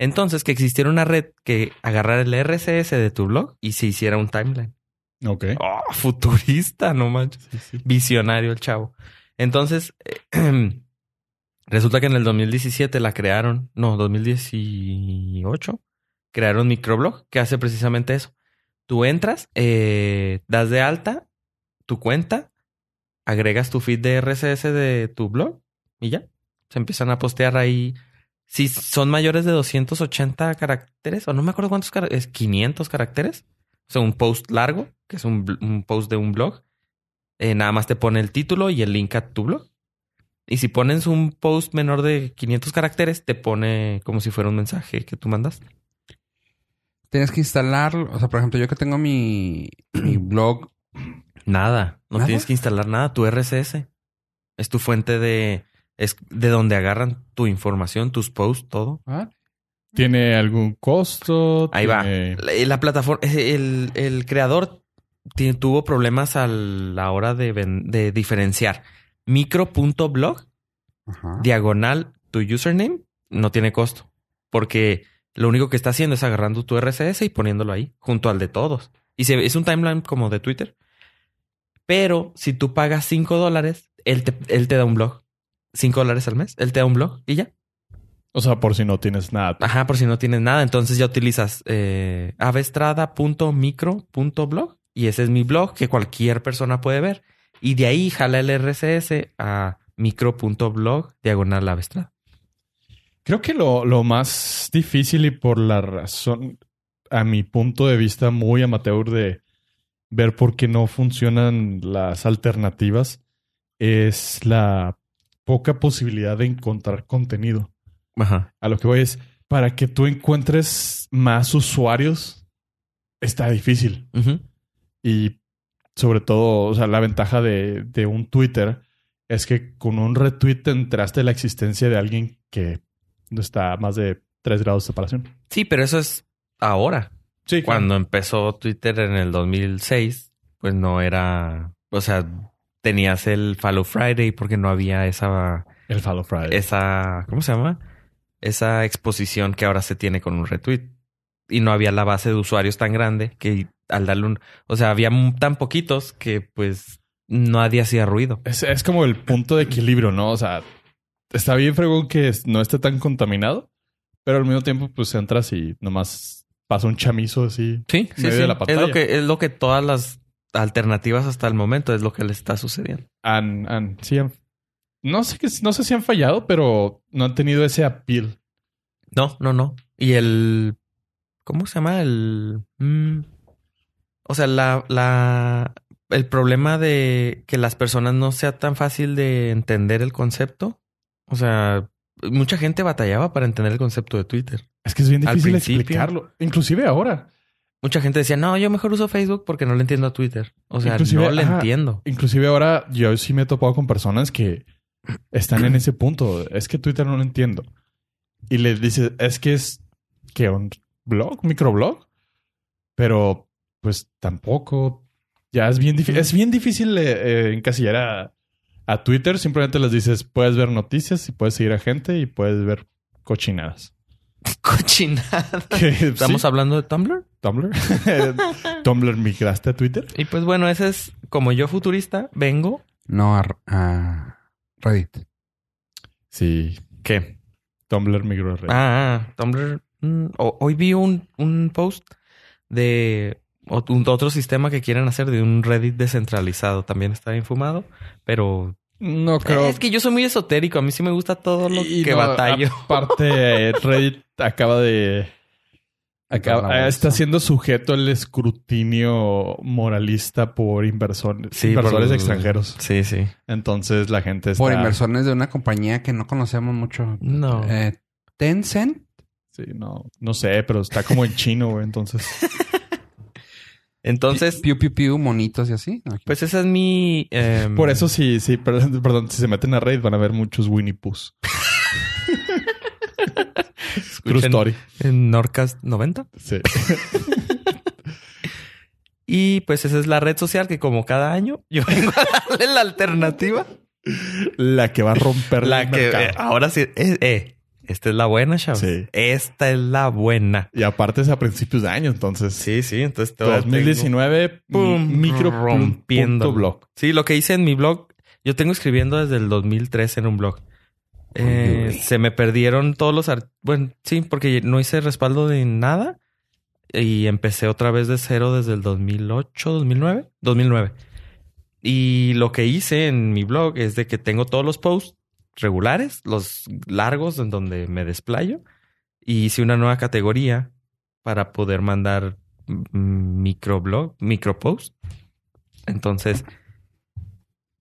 S3: Entonces, que existiera una red que agarrara el RSS de tu blog y se hiciera un timeline.
S2: Ok.
S3: Oh, futurista, no manches
S2: Sí, sí.
S3: visionario el chavo. Entonces, resulta que en el 2017 la crearon, no, 2018, crearon Microblog, que hace precisamente eso. Tú entras, eh, das de alta tu cuenta, agregas tu feed de RSS de tu blog y ya. Se empiezan a postear ahí. Si son mayores de 280 caracteres, o no me acuerdo cuántos caracteres, 500 caracteres. O sea, un post largo, que es un, bl- un post de un blog. Eh, nada más te pone el título y el link a tu blog. Y si pones un post menor de 500 caracteres, te pone como si fuera un mensaje que tú mandaste.
S1: Tienes que instalarlo. O sea, por ejemplo, yo que tengo mi, mi blog.
S3: Nada. No
S1: ¿Nada?
S3: tienes que instalar nada. Tu RSS es tu fuente de... Es de donde agarran tu información, tus posts, todo.
S2: ¿Tiene algún costo?
S3: Ahí va.
S2: ¿Tiene-
S3: La, la plataforma... es El, el creador ti- tuvo problemas a la hora de, ven- de diferenciar micro.blog
S1: Ajá.
S3: diagonal tu username no tiene costo. Porque lo único que está haciendo es agarrando tu RSS y poniéndolo ahí, junto al de todos. Y se, es un timeline como de Twitter. Pero si tú pagas 5 dólares, él te, él te da un blog. 5 dólares al mes, él te da un blog y ya.
S2: O sea, por si no tienes nada.
S3: Ajá, por si no tienes nada. Entonces ya utilizas eh, avestrada.micro.blog y ese es mi blog que cualquier persona puede ver. Y de ahí jala el RSS a micro.blog diagonal avestrada.
S2: Creo que lo, lo más difícil y por la razón, a mi punto de vista muy amateur de ver por qué no funcionan las alternativas, es la poca posibilidad de encontrar contenido.
S3: Ajá.
S2: A lo que voy es, para que tú encuentres más usuarios, está difícil.
S3: Ujú.
S2: Y sobre todo, o sea, la ventaja de, de un Twitter es que con un retweet te enteraste de la existencia de alguien que está a más de 3 grados de separación.
S3: Sí, pero eso es ahora.
S2: Sí,
S3: Cuando empezó Twitter en el 2006, pues no era, o sea, tenías el Follow Friday porque no había esa,
S2: El Follow Friday.
S3: esa, ¿cómo se llama? Esa exposición que ahora se tiene con un retweet. Y no había la base de usuarios tan grande que al darle un, o sea, había m- tan poquitos que pues nadie hacía ruido.
S2: Es, es como el punto de equilibrio, ¿no? O sea, está bien fregón que es- no esté tan contaminado, pero al mismo tiempo, pues entras y nomás pasa un chamizo así.
S3: Sí,
S2: En medio de la
S3: es
S2: pantalla.
S3: lo que es lo que todas las alternativas hasta el momento es lo que le está sucediendo.
S2: Han, han- sí, han- no, sé que, no sé si han fallado, pero no han tenido ese appeal.
S3: No, no, no. Y el. ¿Cómo se llama? El. mm, o sea, la, la. El problema de que las personas no sea tan fácil de entender el concepto. O sea, mucha gente batallaba para entender el concepto de Twitter.
S2: Es que es bien
S3: Al
S2: difícil
S3: principio.
S2: explicarlo. Inclusive ahora.
S3: Mucha gente decía, no, yo mejor uso Facebook porque no le entiendo a Twitter. O sea,
S2: Inclusive,
S3: no le
S2: ajá.
S3: entiendo.
S2: Inclusive ahora yo sí me he topado con personas que están en ese punto. Es que Twitter no lo entiendo. Y les dices, es que es que un blog, un microblog. Pero pues tampoco. Ya es bien difícil. Es bien difícil eh, eh, encasillar a, a Twitter. Simplemente les dices, puedes ver noticias y puedes seguir a gente y puedes ver cochinadas.
S3: Cochinada.
S2: Que,
S3: Estamos
S2: sí,
S3: hablando de Tumblr.
S2: Tumblr. Tumblr migraste a Twitter.
S3: Y pues bueno, ese es como yo futurista, vengo.
S1: No a, a Reddit.
S2: Sí.
S3: ¿Qué?
S2: Tumblr migró a Reddit.
S3: Ah, ah, Tumblr. Mm, ho- hoy vi un, un post de ot- un- otro sistema que quieren hacer de un Reddit descentralizado. También está bien fumado, pero
S2: No creo.
S3: es que yo soy muy esotérico. A mí sí me gusta todo lo
S2: Y
S3: que
S2: no,
S3: batallo.
S2: Aparte, eh, Reddit acaba de. acaba-
S3: ah,
S1: Entrar a la
S2: está
S1: bolsa.
S2: siendo sujeto al escrutinio moralista por inversion-
S3: Sí,
S2: inversores
S3: por-
S2: extranjeros.
S3: Sí, sí.
S2: Entonces la gente está.
S1: Por inversiones de una compañía que no conocemos mucho.
S3: No.
S1: Eh, Tencent.
S2: Sí, no, no sé, pero está como en chino, güey. Entonces.
S3: Entonces,
S1: Piu, piu, piu, monitos y así. No, aquí.
S3: pues esa es mi... em,
S2: Por eso sí, sí, perdón, perdón, si se meten a Reddit van a ver muchos Winnie Poohs. True
S3: escuchen
S2: story.
S3: En Norcast 90.
S2: Sí.
S3: Y pues esa es la red social que como cada año yo vengo a darle la alternativa.
S2: La que va a romper
S3: La
S2: el
S3: que
S2: mercado.
S3: eh, ah, ahora sí, eh, eh, esta es la buena, chavos.
S2: Sí.
S3: Esta es la buena.
S2: Y aparte es a principios de año, entonces.
S3: Sí, sí, entonces todo
S2: 2019,
S3: Pum,
S2: pum, micro
S3: rompiendo.
S2: punto blog.
S3: Sí, lo que hice en mi blog, yo tengo escribiendo desde el 2003 en un blog. Eh,
S1: Uy.
S3: se me perdieron todos los... ar- Bueno, sí, porque no hice respaldo de nada y empecé otra vez de cero desde el 2008, 2009, 2009. Y lo que hice en mi blog es de que tengo todos los posts regulares, los largos en donde me desplayo y hice una nueva categoría para poder mandar mm, microblog, micropost. Entonces,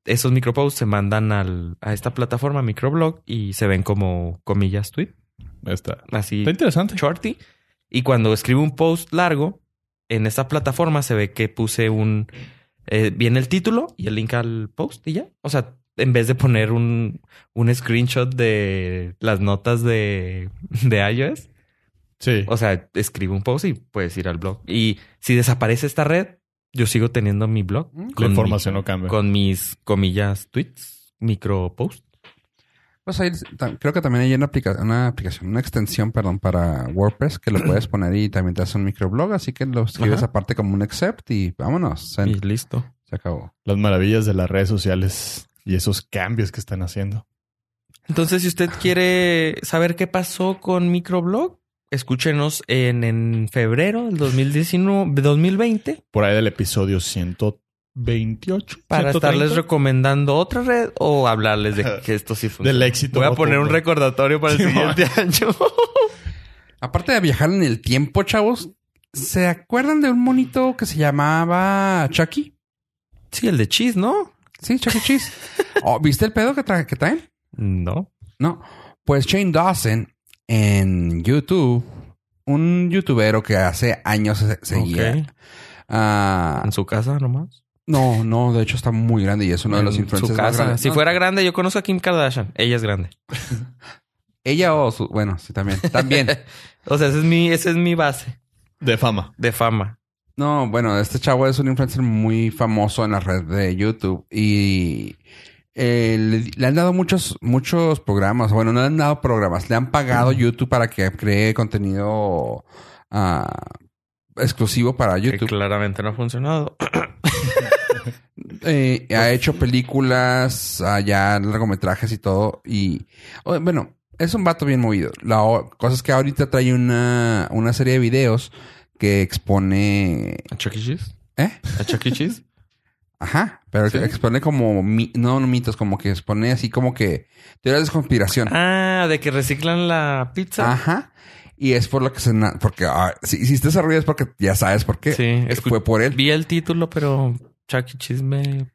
S3: esos microposts se mandan al, a esta plataforma microblog y se ven como comillas tweet,
S2: Ahí Está.
S3: así
S2: Está interesante.
S3: shorty. Y cuando escribo un post largo, en esta plataforma se ve que puse un... eh, viene el título y el link al post y ya. O sea, en vez de poner un, un screenshot de las notas de, de iOS,
S2: Sí.
S3: o sea, escribo un post y puedes ir al blog. Y si desaparece esta red, yo sigo teniendo mi blog.
S1: Mm. La
S2: la
S3: mi-
S2: información no cambia.
S3: con mis comillas tweets, micro post.
S1: Pues ahí tam- creo que también hay una, aplica- una aplicación, una extensión, perdón, para WordPress que lo puedes poner y también te hace un microblog. Así que lo escribes
S3: Ajá.
S1: aparte como un accept y vámonos. Se,
S3: Y listo.
S1: se acabó.
S2: Las maravillas de las redes sociales y esos cambios que están haciendo.
S3: Entonces, si usted quiere saber qué pasó con microblog, escúchenos en, en febrero del 2019, 2020
S2: Por ahí del episodio 128. 130,
S3: para estarles recomendando otra red o hablarles de que esto sí funciona.
S2: Del éxito.
S3: Voy a poner un
S2: rotundo.
S3: recordatorio para el
S2: Sí,
S3: siguiente año.
S1: Aparte de viajar en el tiempo, chavos, ¿se acuerdan de un monito que se llamaba Chucky?
S3: Sí, el de Cheese, ¿no?
S1: Sí, Chucky E. Cheese. Oh, ¿Viste el pedo que, tra- que traen?
S3: No.
S1: No. Pues Shane Dawson en YouTube, un youtubero que hace años se- seguía.
S3: Ok.
S1: ah,
S3: En su casa nomás.
S1: no, no, de hecho está muy grande y es uno de los
S3: En
S1: influencers
S3: su
S1: más
S3: casa.
S1: grandes.
S3: Si
S1: No,
S3: fuera grande, yo conozco a Kim Kardashian. Ella es grande.
S1: Ella o su... Bueno, sí, también. También.
S3: O sea, esa es mi, esa es mi base
S2: De fama.
S3: de fama.
S1: no, bueno, este chavo es un influencer muy famoso en la red de YouTube y... eh, le, le han dado muchos muchos programas. Bueno, no le han dado programas. Le han
S3: Mm.
S1: pagado YouTube para que cree contenido ah, exclusivo para
S3: Que
S1: YouTube.
S3: claramente no ha funcionado.
S1: Eh, ha hecho películas, allá largometrajes y todo. Y o- bueno, es un vato bien movido. La o- cosa es que ahorita trae una, una serie de videos que expone.
S3: ¿A Chuck E. Cheese?
S1: ¿Eh?
S3: ¿A Chuck E. Cheese?
S1: Ajá, pero que expone como. mi- no, no mitos, como que expone así como que teorías de conspiración.
S3: Ah, de que reciclan la pizza.
S1: Ajá. Y es por lo que se. na- Porque ah, si hiciste ese ruido es porque ya sabes por qué.
S3: sí, escu-
S1: Fue por él.
S3: vi el título, pero Chuck E. Cheese me.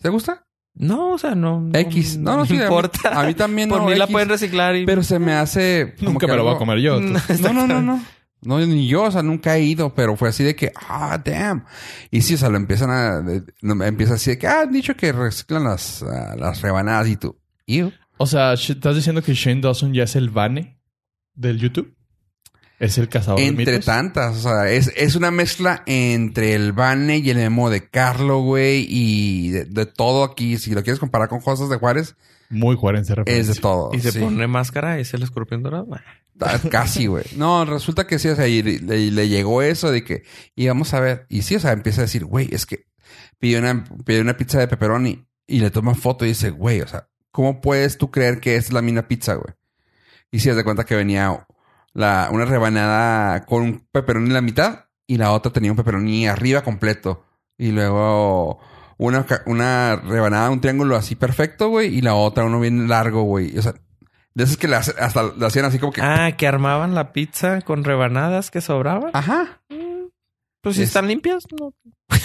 S1: ¿Te gusta?
S3: No, o sea, no. no-
S1: X. No, no,
S3: me
S1: sí, a mí-
S3: importa.
S1: A mí, también
S3: Por
S1: no.
S3: mí la
S1: X.
S3: pueden reciclar y.
S1: Pero se me hace. como
S2: Nunca
S1: que
S2: me lo voy a
S1: algo-
S2: comer yo.
S3: No,
S1: No, no, no, no. No, ni yo, o sea, nunca he ido, pero fue así de que, ah, damn. Y sí, o sea, lo empiezan a, de- no, empieza así de que, ah, han dicho que reciclan las, ah, las rebanadas y tú, ew.
S2: O sea, sh- ¿estás diciendo que Shane Dawson ya es el Vane del YouTube? ¿Es el cazador de
S1: Entre
S2: mitos?
S1: tantas, o sea, es, es una mezcla entre el Bane y el memo de Carlo, güey, y de, de todo aquí. Si lo quieres comparar con cosas de Juárez,
S2: Muy coherente
S1: es
S2: referencia.
S1: de todo.
S3: Y se
S1: sí.
S3: pone máscara, es el escorpión dorado. Bueno,
S1: Ah, Casi, güey. No, resulta que sí, o sea, y le, le- le llegó eso de que íbamos a ver. Y sí, o sea, empieza a decir, güey, es que pidió una, pidió una pizza de pepperoni y le toma foto y dice, güey, o sea, ¿cómo puedes tú creer que es la misma pizza, güey? Y si de cuenta que venía la, una rebanada con un pepperoni en la mitad y la otra tenía un pepperoni arriba completo. Y luego una, ca- una rebanada, un triángulo así perfecto, güey, y la otra uno bien largo, güey. O sea, de esas que la hace- hasta la hacían así como que...
S3: Ah, que armaban la pizza con rebanadas que sobraban.
S1: Ajá.
S3: Pues si
S1: Ah, es-
S3: están limpias, no.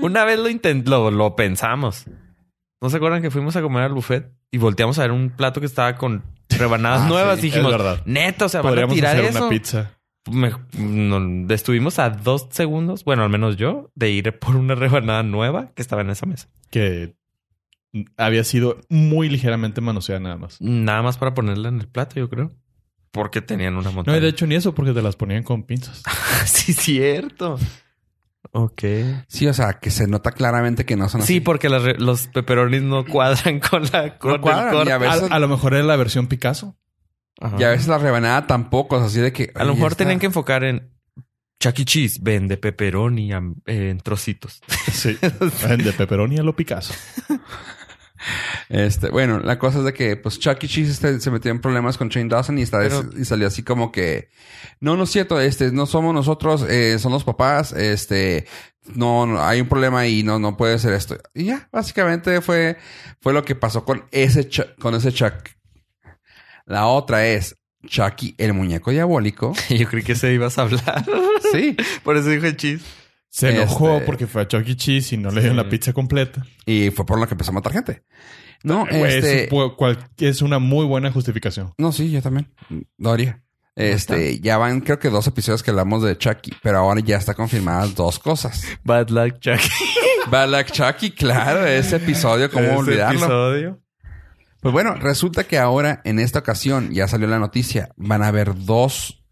S3: Una vez lo intent lo, lo pensamos. ¿No se acuerdan que fuimos a comer al buffet y volteamos a ver un plato que estaba con rebanadas
S1: Ah,
S3: nuevas?
S1: sí,
S3: Dijimos,
S2: es verdad.
S3: neta, o sea, van a
S2: Podríamos
S3: tirar
S2: hacer
S3: eso.
S2: una pizza.
S3: me- no- estuvimos a dos segundos, bueno, al menos yo, de ir por una rebanada nueva que estaba en esa mesa.
S2: Que había sido muy ligeramente manoseada nada más.
S3: Nada más para ponerla en el plato, yo creo. Porque tenían una montaña.
S2: No, y de hecho ni eso, porque te las ponían con pinzas.
S3: sí, cierto. Ok.
S1: Sí, o sea, que se nota claramente que no son así.
S3: Sí, porque las re- los peperonis no cuadran con la con el
S1: cuadran,
S3: corte. Ah,
S1: ya
S2: A,
S1: ves. Eso-
S2: a lo mejor era la versión Picasso.
S3: Ajá.
S1: Y a veces la rebanada tampoco, o sea, así de que...
S3: A lo
S1: "Oye,
S3: mejor
S1: esta-
S3: tenían que enfocar en Chuck E. Cheese vende pepperoni am- eh, en trocitos.
S2: Sí. De pepperoni a lo Picasso.
S1: Este, bueno, la cosa es de que, pues, Chuck E. Cheese este, se metió en problemas con Shane Dawson y, esta vez-
S3: Pero-
S1: y salió así como que, no, no es cierto, este, no somos nosotros, eh, son los papás, este, no, no, hay un problema y no, no puede ser esto. Y ya, básicamente fue, fue lo que pasó con ese Chuck, con ese Chuck. La otra es Chucky, el muñeco diabólico.
S3: Yo creí que se ibas a hablar.
S1: Sí.
S3: Por eso dije cheese.
S2: Se enojó
S1: Este-
S2: porque fue a Chuck E. Cheese y no le dieron
S3: Sí.
S2: la pizza completa.
S1: Y fue por lo que empezó a matar gente. No,
S2: Eh, Güey,
S1: este...
S2: es, pu- cual- es una muy buena justificación.
S1: No, sí, yo también. Lo haría. Este, ya van creo que dos episodios que hablamos de Chucky, pero ahora ya está confirmadas dos cosas.
S3: Bad luck, Chuck.
S1: Balak Chucky, claro, ese episodio, ¿cómo
S3: Ese
S1: olvidarlo?
S3: episodio.
S1: Pues bueno, resulta que ahora en esta ocasión ya salió la noticia, van a haber dos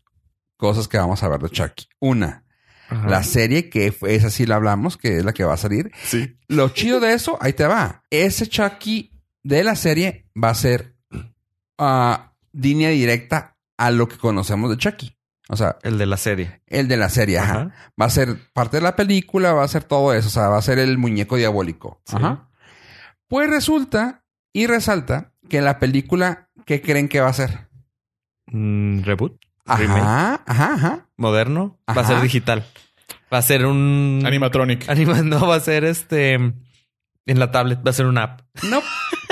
S1: cosas que vamos a ver de Chucky. Una,
S3: Ajá.
S1: la serie que fue- esa sí la hablamos, que es la que va a salir.
S2: Sí.
S1: Lo chido de eso, ahí te va. Ese Chucky de la serie va a ser ah, línea directa a lo que conocemos de Chucky. O sea,
S3: El de la serie.
S1: el de la serie, ajá.
S3: Ajá.
S1: Va a ser parte de la película, va a ser todo eso, o sea, va a ser el muñeco diabólico.
S3: Sí.
S1: Ajá. Pues resulta y resalta que la película, ¿qué creen que va a ser?
S3: Mm, reboot. Remake.
S1: Ajá, ajá, ajá.
S3: Moderno. Va a ser
S1: Ajá.
S3: digital. Va a ser un...
S2: Animatronic.
S3: Anima- No, va a ser este... En la tablet. Va a ser una app.
S1: No,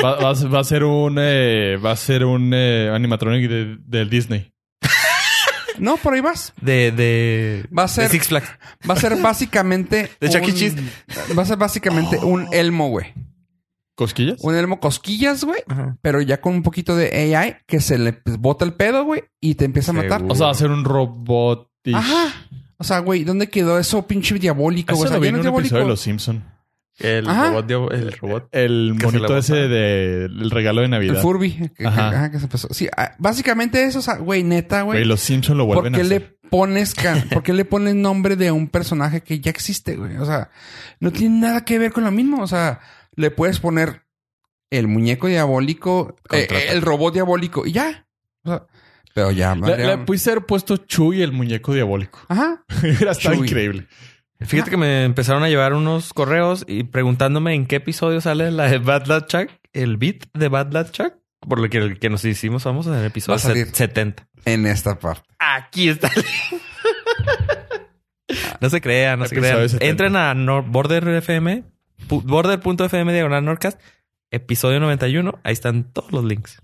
S2: Va, va a ser- va a ser un eh, va a ser un eh, animatronic de- del Disney.
S1: no, por ahí vas.
S3: De... de...
S1: Va a ser,
S3: de Six Flags.
S1: va a ser básicamente.
S3: De Chuck E.
S1: un-
S3: Cheese. Oh.
S1: Va a ser básicamente un elmo, güey.
S2: ¿Cosquillas?
S1: Un elmo cosquillas, güey. Pero ya con un poquito de AI que se le pues, bota el pedo, güey, y te empieza a matar.
S3: Seguro.
S2: O sea, va a ser un robot. y-
S1: Ajá. O sea, güey, ¿dónde quedó eso pinche diabólico? güey? O
S2: Eso
S1: sea,
S2: lo vi
S1: ya
S2: en
S1: no es
S2: un episodio de
S1: diabólico.
S2: Los Simpson.
S3: El
S1: Ajá.
S3: robot. diabo- El robot.
S2: Eh, El
S3: Que se la
S2: monito
S3: bota.
S2: ese del regalo de
S1: El
S2: Navidad.
S1: Furby. que- que-
S2: Ajá.
S1: ajá, que se empezó. Sí, ah, básicamente eso, o sea, güey, neta,
S2: Güey,
S1: güey.
S2: los Simpson lo
S1: ¿Por
S2: vuelven a
S1: qué le
S2: hacer.
S1: pones ca- por qué le pones nombre de un personaje que ya existe, güey? O sea, no tiene nada que ver con lo mismo. O sea, le puedes poner el muñeco diabólico, eh,
S3: Contrata.
S1: el robot diabólico y ya. O sea, pero ya,
S2: Le,
S1: madre,
S2: le pudiste haber puesto Chuy el muñeco diabólico.
S1: Ajá.
S2: Era tan
S1: Chuy.
S2: increíble.
S3: Fíjate que me empezaron a llevar unos correos y preguntándome en qué episodio sale la de Bad Lad Chuck, el beat de Bad Lad Chuck, por lo que, el que nos hicimos vamos en el episodio
S1: Va a salir.
S3: 70.
S1: En esta parte.
S3: Aquí está. no se crean, no se
S2: Episodio
S3: crean.
S2: 70.
S3: Entren a Nor- Border FM, pu- border.fm diagonal Nordcast, episodio 91. Ahí están todos los links.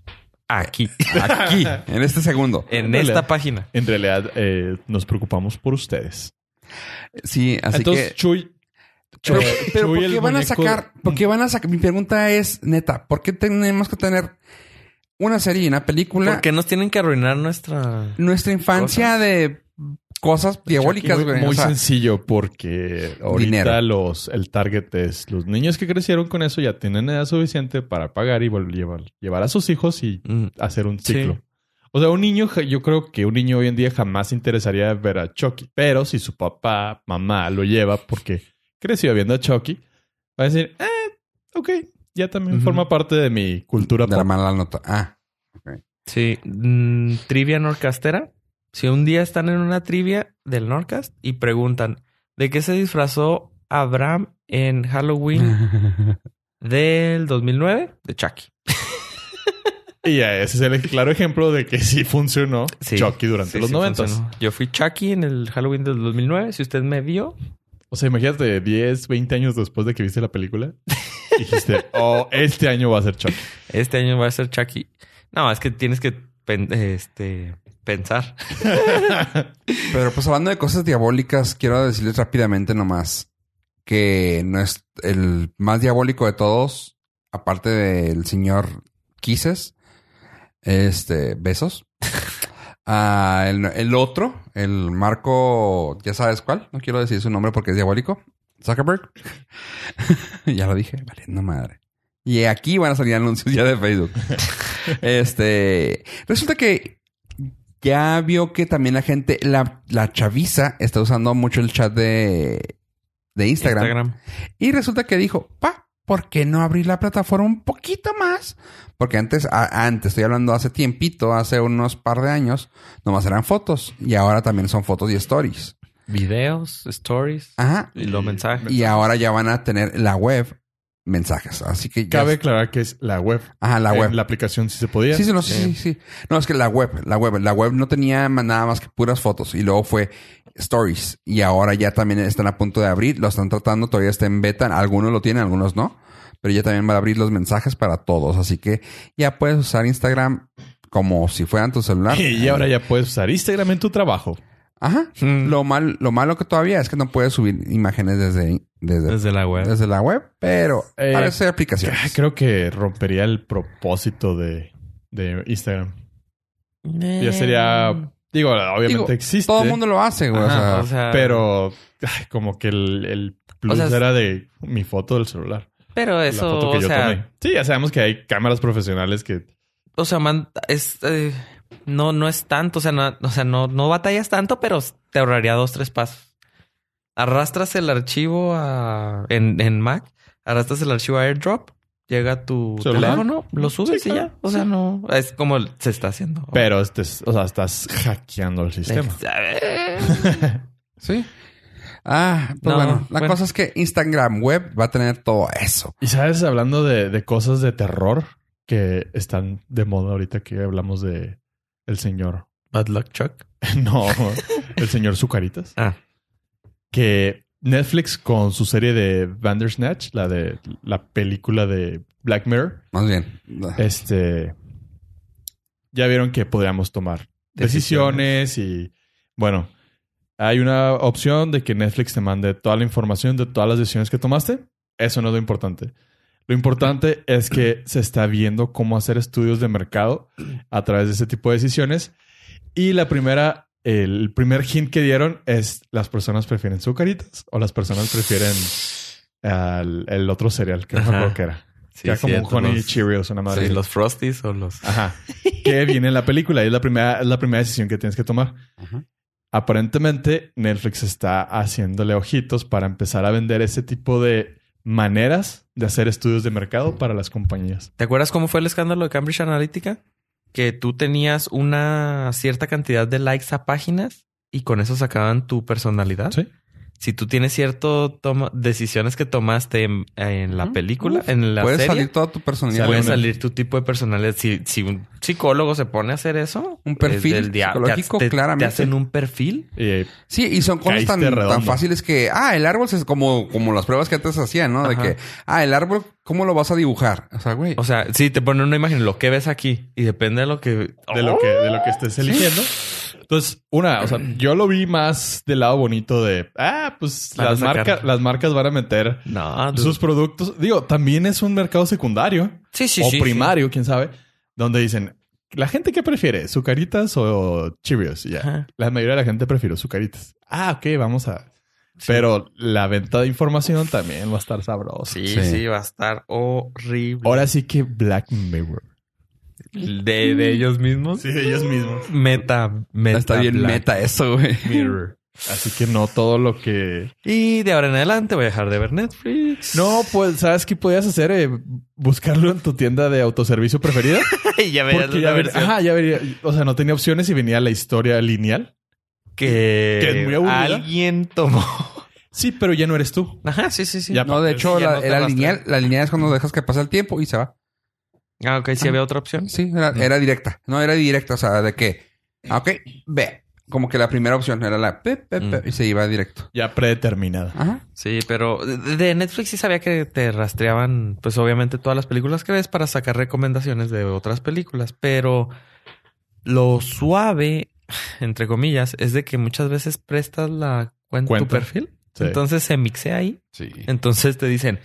S3: Aquí,
S1: Aquí, en este segundo.
S3: en
S2: Ándale.
S3: esta página.
S2: En realidad, eh, nos preocupamos por ustedes.
S1: Sí, así
S2: Entonces,
S1: que.
S2: Chuy.
S1: Pero,
S2: eh,
S1: pero
S2: Chuy
S1: ¿por
S2: el
S1: qué van a
S2: muñeco-
S1: sacar? ¿Por qué van a sacar? Mi pregunta es, neta, ¿por qué tenemos que tener una serie y una película?
S3: Porque nos tienen que arruinar nuestra.
S1: nuestra infancia de cosas diabólicas,
S2: Muy,
S1: güey.
S2: muy
S1: O sea,
S2: sencillo porque ahorita
S1: Dinero.
S2: los el target es los niños que crecieron con eso ya tienen edad suficiente para pagar y vol- llevar, llevar a sus hijos y
S3: Mm.
S2: hacer un
S3: Sí.
S2: ciclo. O sea, un niño, ja- yo creo que un niño hoy en día jamás se interesaría ver a Chucky, pero si su papá, mamá lo lleva porque creció viendo a Chucky, va a decir, eh, ok, ya también
S3: Ujú.
S2: forma parte de mi cultura.
S1: de la
S2: pop".
S1: mala nota. Ah,
S3: Sí, mm, trivia norcastera. Si un día están en una trivia del Norcast y preguntan de qué se disfrazó Abraham en
S1: Ah.
S3: Halloween del 2009 de Chucky.
S2: Y eh, ese es el claro ejemplo de que sí funcionó
S3: Sí.
S2: Chucky durante
S3: Sí,
S2: los
S3: sí
S2: noventas.
S3: funcionó. Yo fui Chucky en el Halloween del 2009. Si usted me vio,
S2: O sea, imagínate 10, 20 años después de que viste la película. Dijiste, oh, este año va a ser Chucky.
S3: este año va a ser Chucky. No, es que tienes que pen- este, pensar.
S1: pero pues hablando de cosas diabólicas, quiero decirles rápidamente nomás que no es el más diabólico de todos, aparte del señor Kisses, este, besos. Ah, el, el otro, el Marco, ya sabes cuál, no quiero decir su nombre porque es diabólico, Zuckerberg. ya lo dije, valiendo madre. Y aquí van a salir anuncios ya de Facebook. este, resulta que ya vio que también la gente, la, la chaviza está usando mucho el chat de, de Instagram. Y resulta que dijo, pa, ¿por qué no abrir la plataforma un poquito más? Porque antes, a- antes, estoy hablando hace tiempito, hace unos par de años, nomás eran fotos. Y ahora también son fotos y stories.
S3: Videos, stories
S1: Ajá.
S3: y los mensajes.
S1: Y ahora ya van a tener la web mensajes. Así que ya...
S2: Cabe aclarar que es la web.
S1: Ajá, la
S2: En
S1: web.
S2: La aplicación sí se podía.
S1: Sí, sí, no, sí, sí, sí. No, es que la web, la web, la web no tenía ma- nada más que puras fotos y luego fue stories y ahora ya también están a punto de abrir, lo están tratando, todavía está en beta, algunos lo tienen, algunos no, pero ya también va a abrir los mensajes para todos, así que ya puedes usar Instagram como si fuera en tu
S3: Ah,
S1: celular.
S2: Y ahora ya puedes usar Instagram en tu trabajo.
S1: Ajá.
S3: Mm.
S1: Lo mal, lo malo que todavía es que no puedes subir imágenes desde desde,
S3: Desde la web.
S1: desde la web, pero
S2: Eh,
S1: para eso hay aplicaciones.
S2: Ah, Creo que rompería el propósito de, de Instagram. Ya
S3: Em.
S2: sería. Digo, obviamente
S1: Digo,
S2: existe.
S1: Todo el mundo lo hace, güey. o
S2: ¿Eh? Ajá,
S1: sea,
S3: O sea,
S2: Pero ay, como que el, el plus
S3: O sea, es-
S2: era de mi foto del celular.
S3: pero
S2: la
S3: eso,
S2: foto que
S3: o
S2: yo
S3: sea,
S2: tomé. Sí, ya sabemos que hay cámaras profesionales que
S3: o sea, man- es, eh, no, no es tanto, o sea, no, o sea, no, no batallas tanto, pero te ahorraría dos, tres pasos. Arrastras el archivo a, en, en Mac, arrastras el archivo a AirDrop, llega a tu
S2: ¿Celular?
S3: teléfono, lo subes
S2: Sí,
S3: y
S2: claro.
S3: ya. O sea, no, es como se está haciendo.
S2: Pero este es- o sea, estás hackeando el sistema.
S1: Sí. Ah, pues
S3: No,
S1: bueno. La
S3: bueno.
S1: cosa es que Instagram Web va a tener todo eso.
S2: Y sabes, hablando de, de cosas de terror que están de moda ahorita que hablamos de el señor.
S3: Bad luck Chuck.
S2: No, el señor Zucaritas.
S3: Ah.
S2: Que Netflix con su serie de Bandersnatch, la de la película de Black Mirror,
S1: Más bien.
S3: Eh,
S2: este ya vieron que podríamos tomar decisiones, y bueno, hay una opción de que Netflix te mande toda la información de todas las decisiones que tomaste. Eso no es lo importante. Lo importante es que se está viendo cómo hacer estudios de mercado a través de ese tipo de decisiones. Y la primera, el primer hint que dieron es las personas prefieren sucaritas o las personas prefieren al- el otro cereal que no me
S3: Ajá.
S2: acuerdo qué era.
S3: Sí,
S2: Que era como
S3: cierto,
S2: un Honey
S3: los-
S2: Cheerios, una madre.
S3: Sí, los Frosties o los...
S2: Ajá. Que viene en la película y es la primera, es la primera decisión que tienes que tomar.
S1: Ajá.
S2: Aparentemente, Netflix está haciéndole ojitos para empezar a vender ese tipo de maneras de hacer estudios de mercado para las compañías.
S3: ¿Te acuerdas cómo fue el escándalo de Cambridge Analytica? Que tú tenías una cierta cantidad de likes a páginas y con eso sacaban tu personalidad.
S2: Sí.
S3: Si tú tienes cierto toma- decisiones que tomaste en, en la
S1: Ujú.
S3: película, en la
S1: Puedes
S3: serie,
S1: salir toda tu personalidad.
S3: puede
S2: Sale una-
S3: salir tu tipo de personalidad. Si, si un psicólogo se pone a hacer eso,
S1: Un perfil
S3: es del dia- te-
S1: psicológico,
S3: te-
S1: claramente.
S3: Te hacen un perfil.
S2: Y
S1: Sí, y son cosas tan,
S2: Caíste redondo.
S1: tan fáciles que, ah, el árbol es como, como las pruebas que antes hacían, ¿no? De
S3: Ajá.
S1: que, ah, el árbol, ¿cómo lo vas a dibujar? O sea, güey.
S3: O sea, si te ponen una imagen, lo que ves aquí y depende de lo que.
S2: de lo que, de lo que
S3: Oh.
S2: estés eligiendo. Entonces, una, o sea, yo lo vi más del lado bonito de, ah, pues
S3: Van a
S2: las
S3: sacar.
S2: marcas, las marcas van a meter
S3: No, dude.
S2: sus productos. Digo, también es un mercado secundario.
S3: sí, sí,
S2: o
S3: sí, sí.
S2: primario, quién sabe, donde dicen, ¿la gente qué prefiere? ¿Sucaritas o Cheerios? Y ya.
S3: Ajá.
S2: La mayoría de la gente prefiere sucaritas. Ah, ok, vamos a... Pero la venta de información también va a estar sabrosa.
S3: Sí,
S1: Sí.
S3: sí, va a estar horrible.
S2: Ahora sí que Black Mirror.
S3: de,
S1: Mm.
S3: de ellos mismos.
S2: Sí, ellos mismos.
S3: Meta, meta.
S1: está bien
S3: Black
S1: meta eso, güey.
S2: Mirror. Así que no todo lo que...
S3: Y de ahora en adelante voy a dejar de ver Netflix.
S2: No, pues, ¿sabes qué podías hacer? Eh, buscarlo en tu tienda de autoservicio preferida.
S3: y ya verás
S2: Porque ya
S3: la
S2: ver-
S3: versión
S2: Ajá, ya vería... O sea, no tenía opciones y venía la historia lineal.
S3: que,
S2: que es muy aburrida.
S3: alguien tomó.
S2: Sí, pero ya no eres tú.
S3: Ajá, sí, sí, sí.
S2: Ya.
S1: No, de hecho,
S3: ya
S1: la,
S3: no te
S1: era
S3: arrastra.
S1: lineal. La lineal es cuando dejas que pasa el tiempo y se va.
S3: Ah, ok, sí había otra opción.
S1: Sí, era, era directa. No, era directa. O sea, de que, ah, ok, ve. Como que la primera opción era la pe, pe, pe,
S3: Mm.
S1: y se iba directo.
S2: Ya predeterminada.
S1: Ajá.
S3: Sí, pero de de Netflix sí sabía que te rastreaban, pues obviamente todas las películas que ves para sacar recomendaciones de otras películas, pero lo suave, entre comillas, es de que muchas veces prestas la cuenta,
S2: Cuenta.
S3: tu perfil.
S2: Sí.
S3: Entonces se mixea ahí.
S1: Sí.
S3: Entonces te dicen,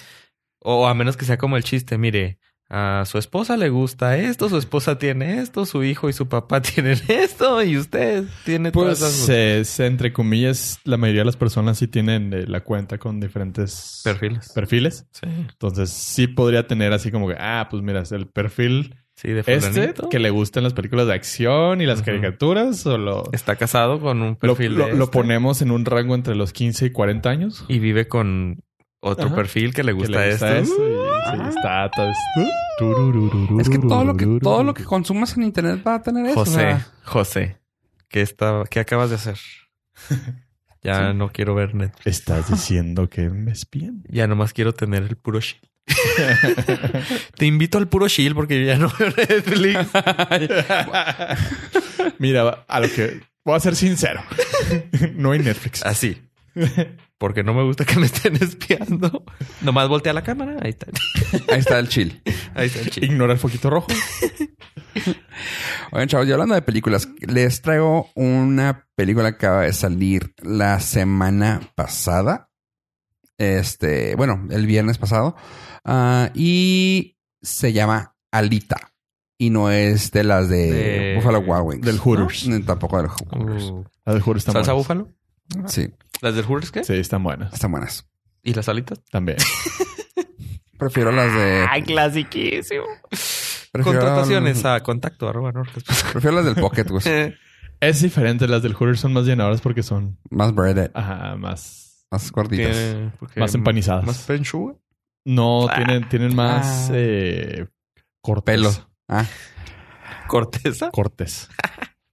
S3: o a menos que sea como el chiste, mire, A su esposa le gusta esto, su esposa tiene esto, su hijo y su papá tienen esto, y usted tiene todas esas
S4: Pues, eh, se- entre comillas, la mayoría de las personas sí tienen eh, la cuenta con diferentes
S3: perfiles.
S4: perfiles.
S3: Sí.
S4: Entonces, sí podría tener así como que, ah, pues mira, el perfil
S3: Sí, de
S4: este
S3: fulanito.
S4: que le gustan las películas de acción y las
S3: Ujú.
S4: caricaturas o lo,
S3: está casado con un
S4: lo,
S3: perfil
S4: lo-
S3: de
S4: lo
S3: este,
S4: ponemos en un rango entre los 15 y 40 años.
S3: y vive con otro
S4: Ajá.
S3: perfil que le
S4: Que
S3: gusta,
S4: le gusta
S3: esto.
S4: eso y- sí, está, todo es-
S1: Es que todo lo que, todo lo que consumas en internet va a tener eso. o
S3: José,
S1: sea,
S3: José, ¿qué, está, ¿qué acabas de hacer? Ya no quiero ver net.
S4: Estás diciendo que me espían.
S3: Ya nomás quiero tener el puro shield. Te invito al puro shield porque yo ya no veo Netflix.
S4: Mira, a lo que voy a ser sincero. No hay Netflix.
S3: Así. Porque no me gusta que me estén espiando. Nomás voltea la cámara. Ahí está.
S1: ahí está el chill.
S3: Ahí está el chill.
S4: Ignora el foquito rojo.
S1: Oigan, chavos, y hablando de películas, les traigo una película que acaba de salir la semana pasada. Este, bueno, el viernes pasado. Ah, y se llama Alita. Y no es de las de,
S3: De-
S1: Buffalo Wild Wings.
S4: Del Hooters.
S1: Ni Tampoco del Hooters.
S3: Uh,
S4: Las del Hooters están
S3: ¿Salsa
S4: buenas.
S3: búfalo?
S1: Sí,
S3: ¿Las del Hooters qué?
S4: Sí, están buenas.
S1: están buenas.
S3: ¿Y las alitas?
S4: También.
S1: Prefiero las de.
S3: clasiquísimo.
S1: Prefiero-
S3: Contrataciones ah. a contacto arroba norcas.
S1: Prefiero las del Pocket, güey.
S4: Es diferente. Las del Hooters son más llenadoras porque son
S1: Más breaded,
S4: ajá, más...
S1: más gorditas.
S3: Tiene- porque-
S4: Más empanizadas.
S3: Más penchuga.
S4: No, tienen, tienen más
S3: Ah.
S4: eh, cortes.
S1: Pelo. Ah.
S3: Corteza.
S4: Cortes.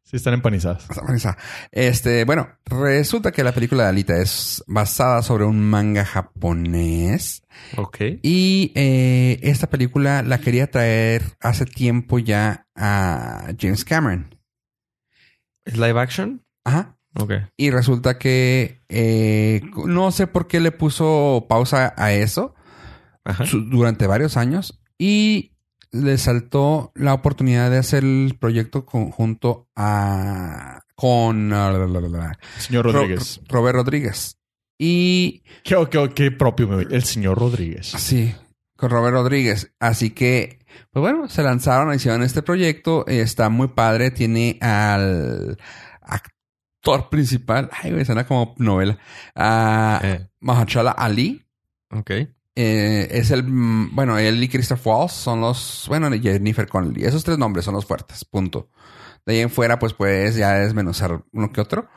S4: Sí, están empanizadas.
S1: Hasta amanecer. Este, bueno, resulta que la película de Alita es basada sobre un manga japonés.
S3: Ok.
S1: Y eh, esta película la quería traer hace tiempo ya a James Cameron.
S3: ¿Es live action?
S1: Ajá.
S3: Ok.
S1: Y resulta que eh, no sé por qué le puso pausa a eso
S3: Ajá.
S1: su- durante varios años. Y le saltó la oportunidad de hacer el proyecto conjunto a con
S4: Señor Rodríguez.
S1: Ro- Robert Rodríguez. Y
S4: Qué, qué- qué propio me El señor Rodríguez.
S1: sí, con Robert Rodríguez. Así que, pues bueno, se lanzaron, hicieron este proyecto. Está muy padre. Tiene al actor principal. Ay, güey, suena como novela. A
S3: Eh,
S1: Mahershala Ali.
S3: ok.
S1: Eh, es el, mm, bueno, él y Christoph Waltz son los, bueno, y Jennifer Connelly. Esos tres nombres son los fuertes, punto. De ahí en fuera, pues puedes ya desmenuzar uno que otro.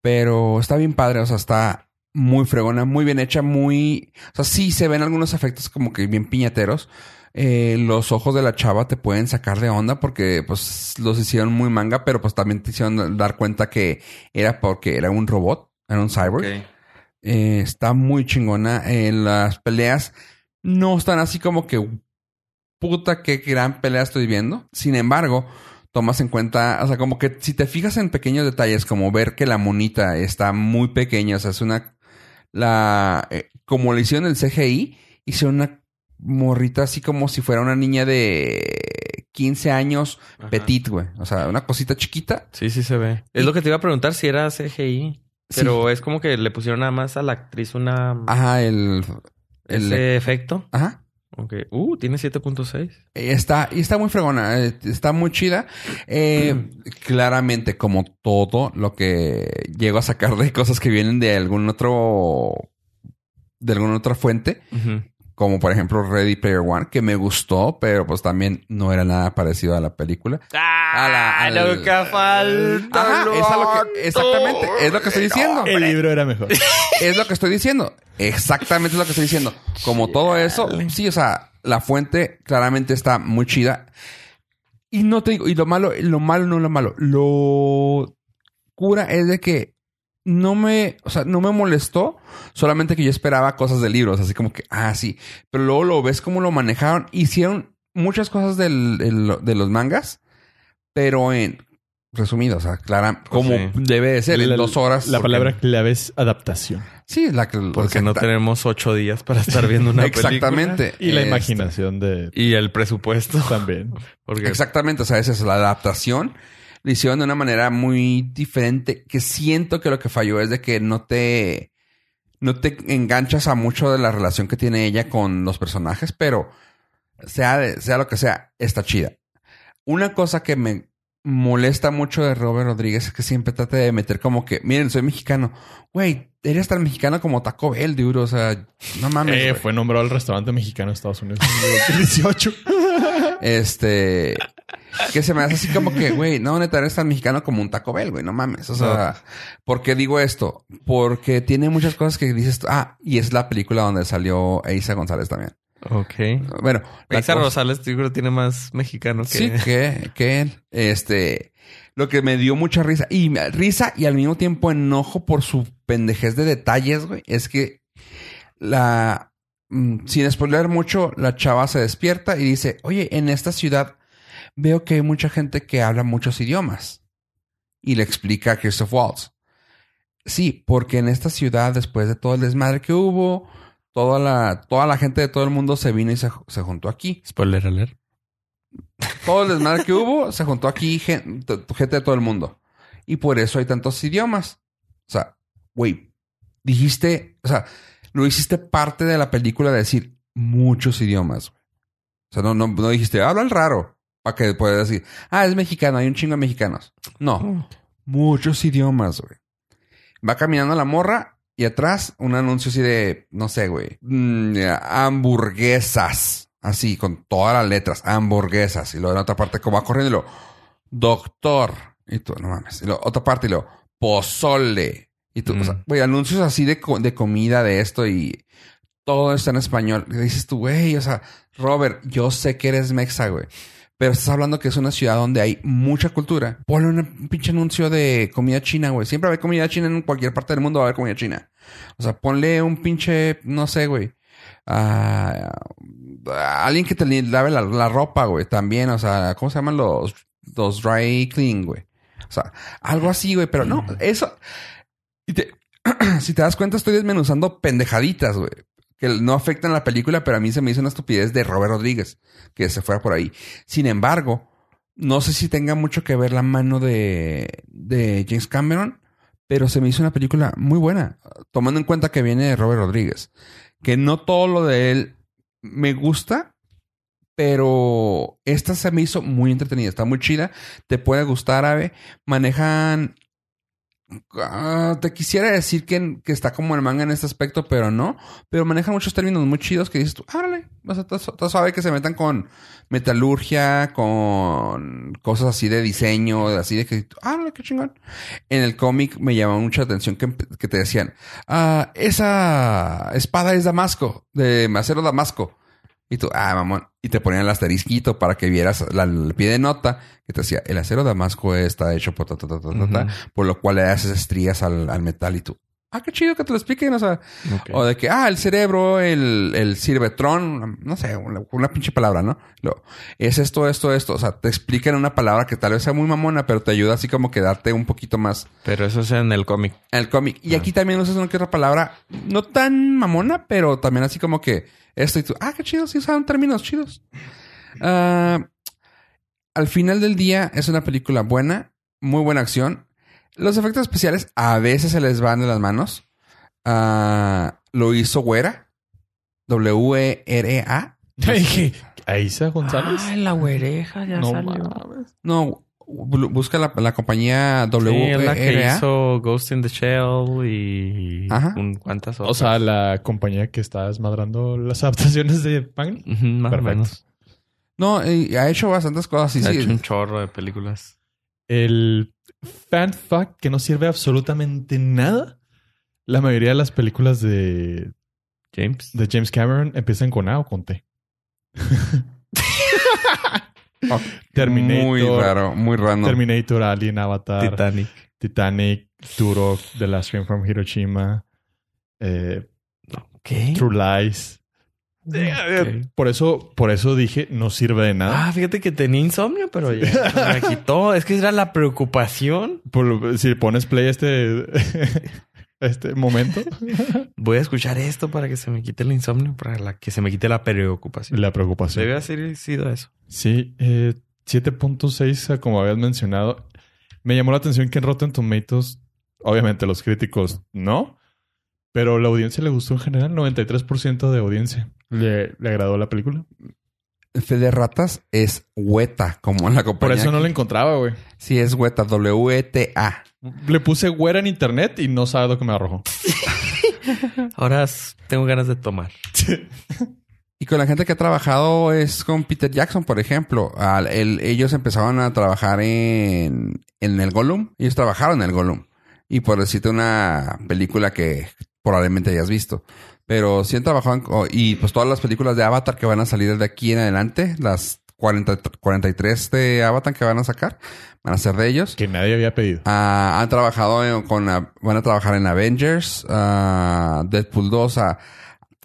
S1: Pero está bien padre, o sea, está muy fregona, muy bien hecha, muy... O sea, sí se ven algunos efectos como que bien piñateros. Eh, los ojos de la chava te pueden sacar de onda porque pues los hicieron muy manga, pero pues también te hicieron dar cuenta que era porque era un robot, era un cyborg.
S3: Ok.
S1: Eh, está muy chingona. Eh, las peleas no están así como que puta qué gran pelea estoy viendo. Sin embargo, tomas en cuenta, o sea, como que si te fijas en pequeños detalles, como ver que la monita está muy pequeña, o sea, es una la eh, como le hicieron el CGI, hicieron una morrita así como si fuera una niña de 15 años,
S3: Ajá.
S1: petit, güey. O sea, una cosita chiquita.
S3: Sí, sí se ve. Es lo que te iba a preguntar si era CGI. Pero es como que le pusieron nada más a la actriz una...
S1: Ajá, el el
S3: ese efecto.
S1: ajá.
S3: Ok. Uh, tiene 7.6.
S1: Eh, Está, y está muy fregona, eh, está muy chida. Eh, Claramente, como todo lo que llego a sacar de cosas que vienen de algún otro, de alguna otra fuente, como por ejemplo Ready Player One, que me gustó, pero pues también no era nada parecido a la película. A la- al-
S3: nunca falta
S1: Ajá,
S3: lo
S1: es a lo que- exactamente, es lo que estoy diciendo.
S4: El libro era mejor.
S1: Es lo que estoy diciendo. Exactamente es lo que estoy diciendo. Como todo eso, sí, o sea, la fuente claramente está muy chida. Y no te digo, y lo malo, lo malo no es lo malo. Lo cura es de que no me, o sea, no me molestó, solamente que yo esperaba cosas de libros, así como que, ah, sí. Pero luego lo ves cómo lo manejaron. Hicieron muchas cosas del- del- de los mangas, pero en resumido, o sea, clara, como
S3: sí.
S1: debe de ser, en
S4: Pues La-
S1: dos horas.
S4: La
S1: porque-
S4: palabra clave es adaptación.
S1: Sí, la que
S3: Porque no
S1: exacta-
S3: tenemos ocho días para estar viendo una película.
S1: Exactamente.
S4: Y la
S1: Este,
S4: imaginación de
S3: Y el presupuesto.
S4: también.
S3: Porque
S1: Exactamente, o sea, esa es la adaptación. Le hicieron de una manera muy diferente. Que siento que lo que falló es de que no te. No te enganchas a mucho de la relación que tiene ella con los personajes, pero sea, de- sea lo que sea, está chida. Una cosa que me molesta mucho de Robert Rodríguez es que siempre trata de meter como que, miren, soy mexicano. Güey, eres tan mexicano como Taco Bell, duro. O sea, no
S3: Ah,
S1: mames.
S4: Eh,
S1: güey.
S4: fue nombrado el restaurante mexicano de Estados Unidos en el 2018.
S1: Este. Que se me hace así como que, güey, no, neta, eres tan mexicano como un Taco Bell, güey, no mames. O sea, ¿por qué digo esto? Porque tiene muchas cosas que dices, ah, y es la película donde salió Eiza González también.
S3: Ok.
S1: Bueno, la
S3: Isa
S1: cosa-
S3: Rosales, yo creo, tiene más mexicano que.
S1: Sí, que, que él. Este. Lo que me dio mucha risa. Y me- risa y al mismo tiempo enojo por su pendejez de detalles, güey. Es que la. mm, Sin spoiler mucho, la chava se despierta y dice: Oye, en esta ciudad veo que hay mucha gente que habla muchos idiomas. Y le explica a Christoph Waltz. Sí, porque en esta ciudad, después de todo el desmadre que hubo, toda la, toda la gente de todo el mundo se vino y se- se juntó aquí
S3: Spoiler alert.
S1: todo el desmadre que hubo se juntó aquí gen- t- gente, de todo el mundo. Y por eso hay tantos idiomas. O sea, güey, dijiste, o sea, lo hiciste parte de la película de decir muchos idiomas. güey. O sea, no, no, no dijiste, habla el raro. Para que puedas decir, ah, es mexicano, hay un chingo de mexicanos. No, muchos idiomas, güey. Va caminando la morra y atrás un anuncio así de, no sé, güey, mm, hamburguesas. Así, con todas las letras, hamburguesas. Y luego en otra parte, como va corriendo, y lo, doctor. Y tú, no mames. Y luego otra parte, y lo, pozole. Y tú, o sea,
S3: Mm.
S1: güey, anuncios así de, co- de comida, de esto y todo está en español. Y dices tú, güey, o sea, Robert, yo sé que eres mexa, güey. Pero estás hablando que es una ciudad donde hay mucha cultura. Ponle un pinche anuncio de comida china, güey. Siempre va a haber comida china en cualquier parte del mundo, va a haber comida china. O sea, ponle un pinche, no sé, güey. Ah, ah, alguien que te li- lave la, la ropa, güey, también. O sea, ¿cómo se llaman los, los dry clean, güey? O sea, algo así, güey. Pero no, eso... y te- si te das cuenta, estoy desmenuzando pendejaditas, güey. Que no afectan la película, pero a mí se me hizo una estupidez de Robert Rodríguez. Que se fuera por ahí. Sin embargo, no sé si tenga mucho que ver la mano de, de James Cameron, pero se me hizo una película muy buena, tomando en cuenta que viene de Robert Rodríguez. Que no todo lo de él me gusta, pero esta se me hizo muy entretenida, está muy chida, te puede gustar, Ave. Manejan. ah, te quisiera decir que, que está como el manga en este aspecto, pero no. Pero manejan muchos términos muy chidos que dices tú, árale, o sea, está su- está suave que se metan con metalurgia, con cosas así de diseño, así de que, ah, qué chingón. En el cómic me llamó mucha atención que, que te decían, ah, esa espada es Damasco, de acero Damasco. Y tú, ah, mamón. Y te ponían el asterisquito para que vieras la, el pie de nota que te decía, el acero Damasco está hecho por ta, ta, ta, ta, ta, ta", por lo cual le haces estrías al, al metal y tú, ah, qué chido que te lo expliquen, o sea, o de que, ah, el cerebro, el, el cibertrón, no sé, una, una pinche palabra, ¿no? Lo- es esto, esto, esto. O sea, te explican una palabra que tal vez sea muy mamona, pero te ayuda así como que darte un poquito más
S3: Pero eso es en el cómic.
S1: en el cómic.
S3: Ah.
S1: Y aquí también usas una que otra palabra, no tan mamona, pero también así como que esto y tú, ah, qué chido, sí usaron términos chidos. Ah, al final del día es una película buena, muy buena acción. Los efectos especiales a veces se les van de las manos. Ah, lo hizo Güera. E W-E-R-A.
S4: Te dije, ¿Aiza González?
S3: la güereja ya
S4: no
S3: salió.
S4: mames.
S1: No, bu- busca la, la compañía E
S3: Sí, es la que
S1: W-E-R-A.
S3: hizo Ghost in the Shell y
S1: Ajá.
S3: un cuantas
S4: O
S3: otras.
S4: sea, la compañía que está desmadrando las adaptaciones de Pagni.
S3: Ujú, más
S4: Perfecto.
S3: o menos.
S1: no, eh, ha hecho bastantes cosas. Sí,
S3: Ha
S1: sí.
S3: hecho un chorro de películas.
S4: El fan fact que no sirve absolutamente nada. La mayoría de las películas de,
S3: James.
S4: de James Cameron empiezan con A o con T.
S1: Ok.
S4: Terminator.
S1: Muy raro, muy random.
S4: Terminator, Alien, Avatar,
S3: Titanic.
S4: Titanic, Turok, The Last Train from Hiroshima, eh,
S3: ¿Qué?
S4: True Lies.
S3: Ok.
S4: Por eso, por eso dije, no sirve de nada.
S3: Ah, fíjate que tenía insomnio, pero ya me la quitó. Es que era la preocupación.
S4: Por- si pones play a este, a este momento,
S3: Voy a escuchar esto para que se me quite el insomnio, para la- que se me quite la preocupación.
S4: la preocupación.
S3: Debe haber sido eso.
S4: Sí, eh, 7.6, como habías mencionado. Me llamó la atención que en Rotten Tomatoes, obviamente los críticos no, pero la audiencia le gustó en general, 93% de audiencia. ¿Le, le agradó la película?
S1: F de ratas es hueta, como la compañía.
S2: Por eso no lo encontraba, güey.
S1: Sí, es hueta, E W-E-T-A.
S2: Le puse güera en internet y no sabe lo que me arrojó.
S3: Ahora s- tengo ganas de tomar.
S1: Y con la gente que ha trabajado es con Peter Jackson, por ejemplo. Al- el- ellos empezaron a trabajar en, en el Gollum. Ellos trabajaron en el Gollum. Y por decirte una película que probablemente hayas visto. Pero sí han trabajado en- o- y pues todas las películas de Avatar que van a salir de aquí en adelante, las 40, 43 de Avatar que van a sacar, van a ser de ellos.
S2: Que nadie había pedido.
S1: Ah, han trabajado en- con la- van a trabajar en Avengers, ah, Deadpool 2, ah,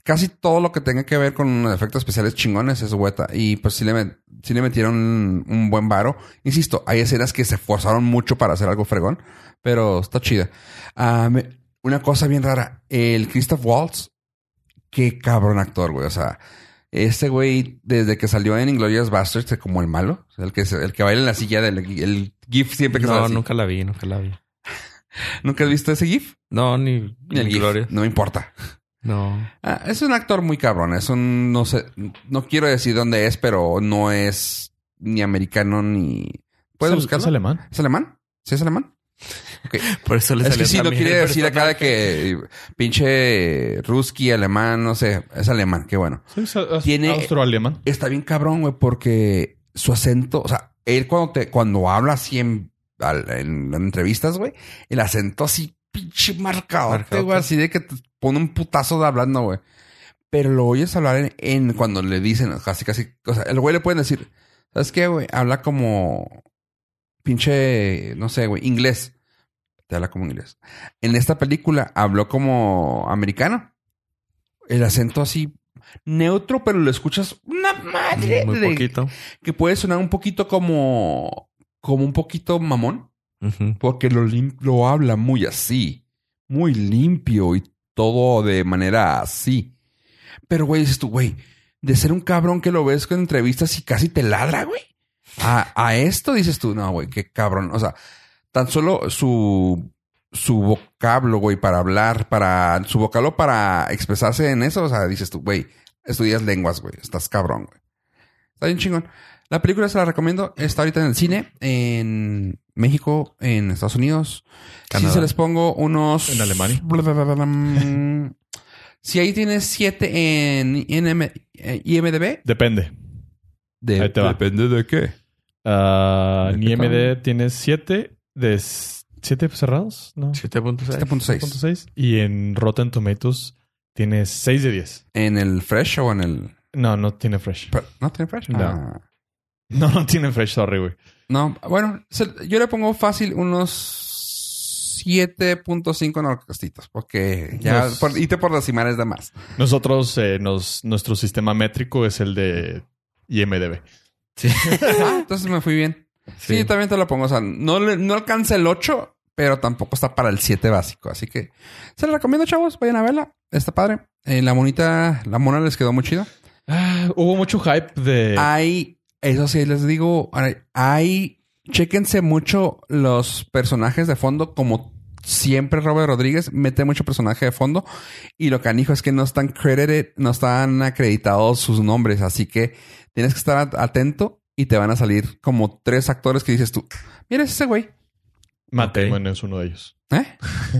S1: casi todo lo que tenga que ver con los efectos especiales chingones es hueta. Y pues sí le, met- sí le metieron un, un buen varo. Insisto, hay escenas que se esforzaron mucho para hacer algo fregón, pero está chida. Ah, me- una cosa bien rara, el Christoph Waltz, qué cabrón actor, güey. O sea, este güey, desde que salió en Inglorious Bastards, es como el malo, o sea, el que, se- el que baila en la silla del el GIF siempre que sale
S3: No,
S1: así.
S3: nunca la vi, nunca la vi.
S1: ¿Nunca has visto ese GIF?
S3: No, ni, ni
S1: El GIF.
S3: Gloria.
S1: No me importa.
S3: No.
S1: Ah, es un actor muy cabrón. Es un... No sé... No quiero decir dónde es, pero no es ni americano ni... ¿Puedes
S2: Es al-
S1: buscarlo?
S2: Es alemán.
S1: ¿Es alemán? ¿Sí es alemán?
S3: Por eso le
S1: Es
S3: salió
S1: que sí, no
S3: también
S1: quiere
S3: el
S1: decir acá de
S3: personaje.
S1: que... Pinche... Ruski, alemán, no sé. Es alemán. Qué bueno.
S2: Sí, es a-
S1: Tiene-
S2: austroalemán.
S1: Está bien cabrón, güey, porque su acento... O sea, él cuando te... Cuando habla así en... al- en, en entrevistas, güey, el acento así pinche marcado, güey,
S3: Marcadote.
S1: así de que te pone un putazo de hablando, güey. Pero lo oyes hablar en, en cuando le dicen, casi, casi, o sea, el güey le pueden decir, ¿sabes qué, güey? Habla como pinche, no sé, güey, inglés. Te habla como inglés. En esta película habló como americano. El acento así neutro, pero lo escuchas una madre
S3: Muy
S1: de-
S3: poquito.
S1: que puede sonar un poquito como, como un poquito mamón.
S3: Ujú.
S1: Porque lo, lim- lo habla muy así. Muy limpio y todo de manera así. Pero, güey, dices tú, güey, de ser un cabrón que lo ves con entrevistas y casi te ladra, güey. A, a esto dices tú, no, güey, qué cabrón. O sea, tan solo su, su vocablo, güey, para hablar, para su vocablo para expresarse en eso. O sea, dices tú, güey, estudias lenguas, güey, estás cabrón, güey. Está bien chingón. La película se la recomiendo. Está ahorita en el cine, en México, en Estados Unidos. Si
S3: Canadá.
S1: se les pongo unos.
S2: En Alemania.
S1: Bla, bla, bla, bla, bla. si ahí tienes siete en, INM eh, IMDB.
S2: Depende.
S1: de-
S2: Ahí te va.
S1: Depende de qué.
S2: Ah,
S1: ¿De qué
S2: ni MD tiene 7 de s- siete cerrados, ¿no?
S3: 7.6.
S1: 7.6.
S2: 7.6. Y en Rotten Tomatoes tiene 6 de 10.
S1: ¿En el Fresh o en el.
S2: No, no tiene Fresh.
S1: pero, ¿No tiene Fresh?
S2: No.
S1: Ah.
S2: No, no tiene Fresh, sorry, güey.
S1: No, bueno, se- yo le pongo fácil unos 7.5 narcastitos, porque ya
S2: Los-
S1: por, y te por decimales de más.
S2: Nosotros, eh, nos, nuestro sistema métrico es el de IMDB.
S1: Ah, entonces me fui bien. Sí,
S3: Sí.
S1: también te lo pongo, o sea, no, le- no alcanza el 8, pero tampoco está para el 7 básico, así que se lo recomiendo, chavos, vayan a verla, está padre. Eh, la monita, la mona les quedó muy chida.
S2: Ah, hubo mucho hype de...
S1: Ah, Hay, eso sí, les digo, hay- hay, chéquense mucho los personajes de fondo, como siempre Robert Rodríguez mete mucho personaje de fondo y lo canijo es que no están credited, no están acreditados sus nombres, así que tienes que estar at- atento y te van a salir como tres actores que dices tú, mira ese güey,
S2: Matt
S3: Ok.
S2: Damon es uno de ellos.
S1: ¿eh?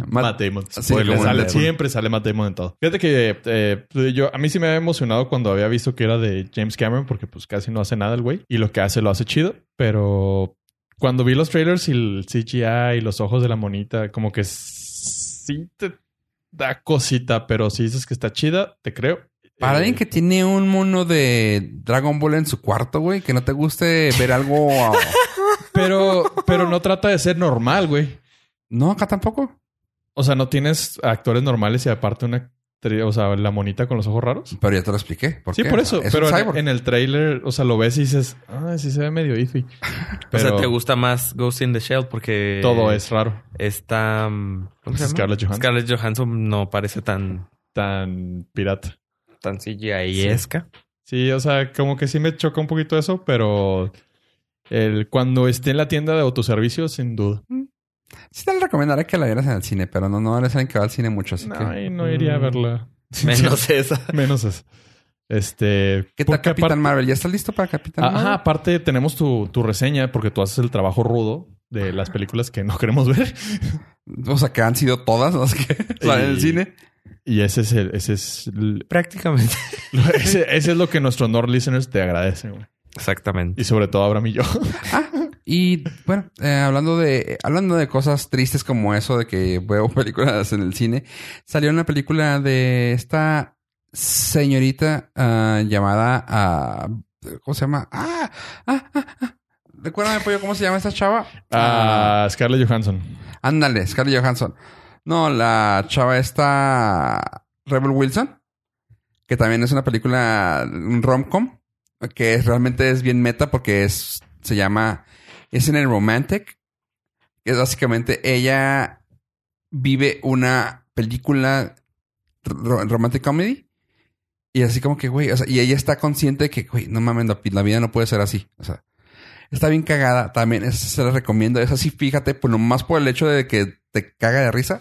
S1: Ma-
S2: Matt Damon.
S1: Sí,
S2: Spoiler,
S1: como
S2: sale-
S1: Matt Damon.
S2: siempre sale Matt Damon en todo. Fíjate que eh, yo, a mí sí me había emocionado cuando había visto que era de James Cameron, porque pues casi no hace nada el güey. Y lo que hace lo hace chido, pero cuando vi los trailers y el CGI y los ojos de la monita, como que sí te da cosita, pero si dices que está chida, te creo.
S1: Para
S2: Eh,
S1: alguien que tiene un mono de Dragon Ball en su cuarto, güey, que no te guste ver algo...
S2: Pero, pero no trata de ser normal, güey.
S1: No, acá tampoco.
S2: O sea, no tienes actores normales y aparte una... actriz- O sea, la monita con los ojos raros.
S1: Pero ya te lo expliqué. ¿Por
S2: sí,
S1: qué?
S2: por
S1: O sea,
S2: eso.
S1: es un
S2: pero en-
S1: cyborg.
S2: en el trailer, o sea, lo ves y dices, ah, sí se ve medio iffy. Pero
S3: O sea, ¿te gusta más Ghost in the Shell? Porque...
S2: todo es raro.
S3: Esta... mm, ¿Cómo se llama?
S2: Scarlett Johansson.
S3: Scarlett Johansson no parece tan...
S2: Tan pirata.
S3: Tan CGI-esca.
S2: Sí, o sea, como que sí me choca un poquito eso, pero el, cuando esté en la tienda de autoservicio, sin duda.
S1: Sí te recomendaré que la vieras en el cine, pero no, no eres alguien que va al cine mucho, así
S2: No,
S1: que...
S2: y no iría a verla.
S3: Menos esa.
S2: Menos eso. Este.
S1: ¿Qué tal
S2: porque
S1: Capitán
S2: aparte-
S1: Marvel? ¿Ya estás listo para Capitán
S2: Ah, Ajá,
S1: Marvel?
S2: aparte tenemos tu, tu reseña porque tú haces el trabajo rudo de
S1: Ah.
S2: las películas que no queremos ver.
S1: O sea, que han sido todas las que salen en el
S2: Y-
S1: cine.
S2: Y ese es el, ese es el-
S3: Prácticamente.
S2: ese, ese es lo que nuestros Nord listeners te agradecen. güey.
S3: Exactamente.
S2: Y sobre todo Abraham y yo.
S1: Y bueno, eh, hablando de hablando de cosas tristes como eso de que veo películas en el cine, salió una película de esta señorita ah, llamada ah, ¿cómo se llama? Ah, ah, ah, ah. Recuérdame pollo cómo se llama esta chava.
S2: A Ah, Scarlett Johansson.
S1: Ah, ándale, Scarlett Johansson. No, la chava esta Rebel Wilson, que también es una película un rom-com que es- realmente es bien meta porque es se llama es en el romantic que es básicamente ella vive una película ro- romantic comedy y así como que güey o sea, y ella está consciente de que güey no mames la, pi- la vida no puede ser así o sea está bien cagada también esa se la recomiendo es así fíjate pues nomás por el hecho de que te caga de risa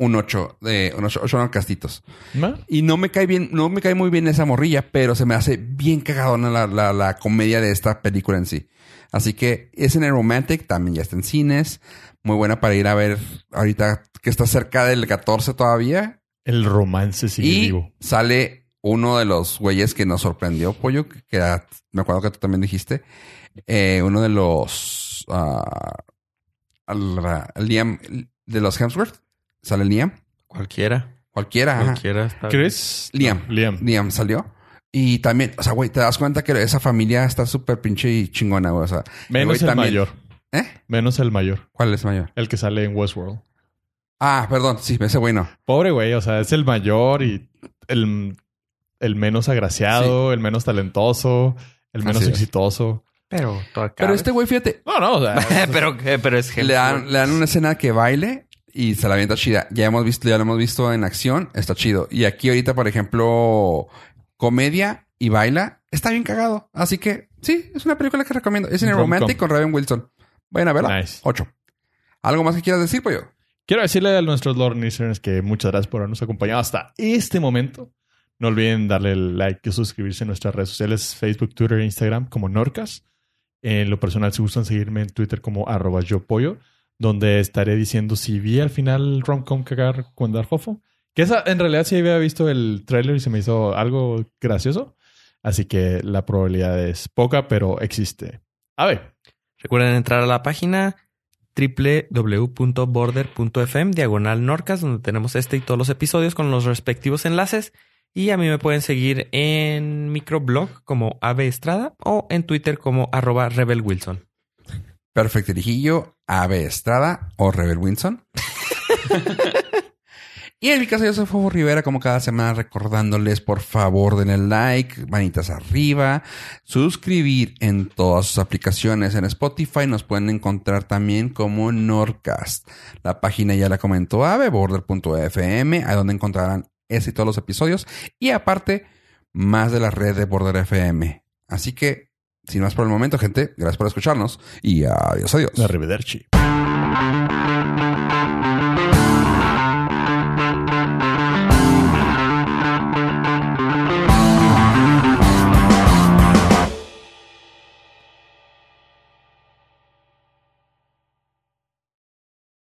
S1: un 8 de un 8 castitos
S2: ¿No?
S1: y no me cae bien, no me cae muy bien esa morrilla, pero se me hace bien cagadona la, la, la comedia de esta película en sí. Así que es en el Romantic, también ya está en cines. Muy buena para ir a ver ahorita que está cerca del 14 todavía.
S2: El romance sigue
S1: y
S2: vivo.
S1: sale uno de los güeyes que nos sorprendió, Pollo, que, que era- me acuerdo que tú también dijiste. eh, uno de los... ah, al- Liam, de los Hemsworth. Sale Liam.
S3: Cualquiera.
S1: Cualquiera. ajá.
S3: Cualquiera. está-
S2: ¿Chris?
S1: Liam.
S2: No, Liam.
S1: Liam salió. Y también, o sea, güey, te das cuenta que esa familia está súper pinche y chingona, güey. O sea,
S2: Menos
S1: güey
S2: el
S1: también.
S2: mayor.
S1: ¿eh?
S2: Menos el mayor.
S1: ¿Cuál es mayor?
S2: El que sale en Westworld.
S1: Ah, perdón, sí, ese güey no.
S2: Pobre güey, o sea, es el mayor y el, el menos agraciado, el menos talentoso, el menos
S1: Así es.
S2: exitoso.
S3: Pero tú acabas.
S1: Pero este güey, fíjate,
S2: No, no, o sea,
S3: pero, eh, pero es
S1: le dan, le dan una escena que baile y se la avienta chida. Ya hemos visto, ya lo hemos visto en acción, está chido. Y aquí ahorita, por ejemplo, comedia y baila, está bien cagado. Así que, sí, es una película que recomiendo. Es en el
S2: Rom-com.
S1: Romantic con Raven Wilson. Vayan a verla.
S2: nice.
S1: Ocho. ¿Algo más que quieras decir, pollo?
S2: Quiero decirle a nuestros Lord Listeners que muchas gracias por habernos acompañado hasta este momento. No olviden darle el like y suscribirse en nuestras redes sociales, Facebook, Twitter e Instagram como Norcas. En lo personal, si gustan seguirme en Twitter como arroba yo pollo, donde estaré diciendo si vi al final Romcom cagar con Darjofo. Que esa, en realidad sí había visto el tráiler y se me hizo algo gracioso. Así que la probabilidad es poca, pero existe. A ver,
S3: Recuerden entrar a la página www.border.fm diagonal norcas donde tenemos este y todos los episodios con los respectivos enlaces y a mí me pueden seguir en microblog como Ave Estrada o en Twitter como arroba Rebel Wilson.
S1: Perfect Dirijillo, Ave Estrada o Rebel Winson. y en mi caso, yo soy Fofo Rivera, como cada semana, recordándoles, por favor, denle like, manitas arriba, suscribir en todas sus aplicaciones en Spotify. Nos pueden encontrar también como Norcast. La página ya la comentó Ave, border.fm, a donde encontrarán ese y todos los episodios. Y aparte, más de la red de Border FM. Así que, sin más por el momento, Pues, gente, gracias por escucharnos y adiós, adiós.
S2: la Rivederchi.
S5: Thank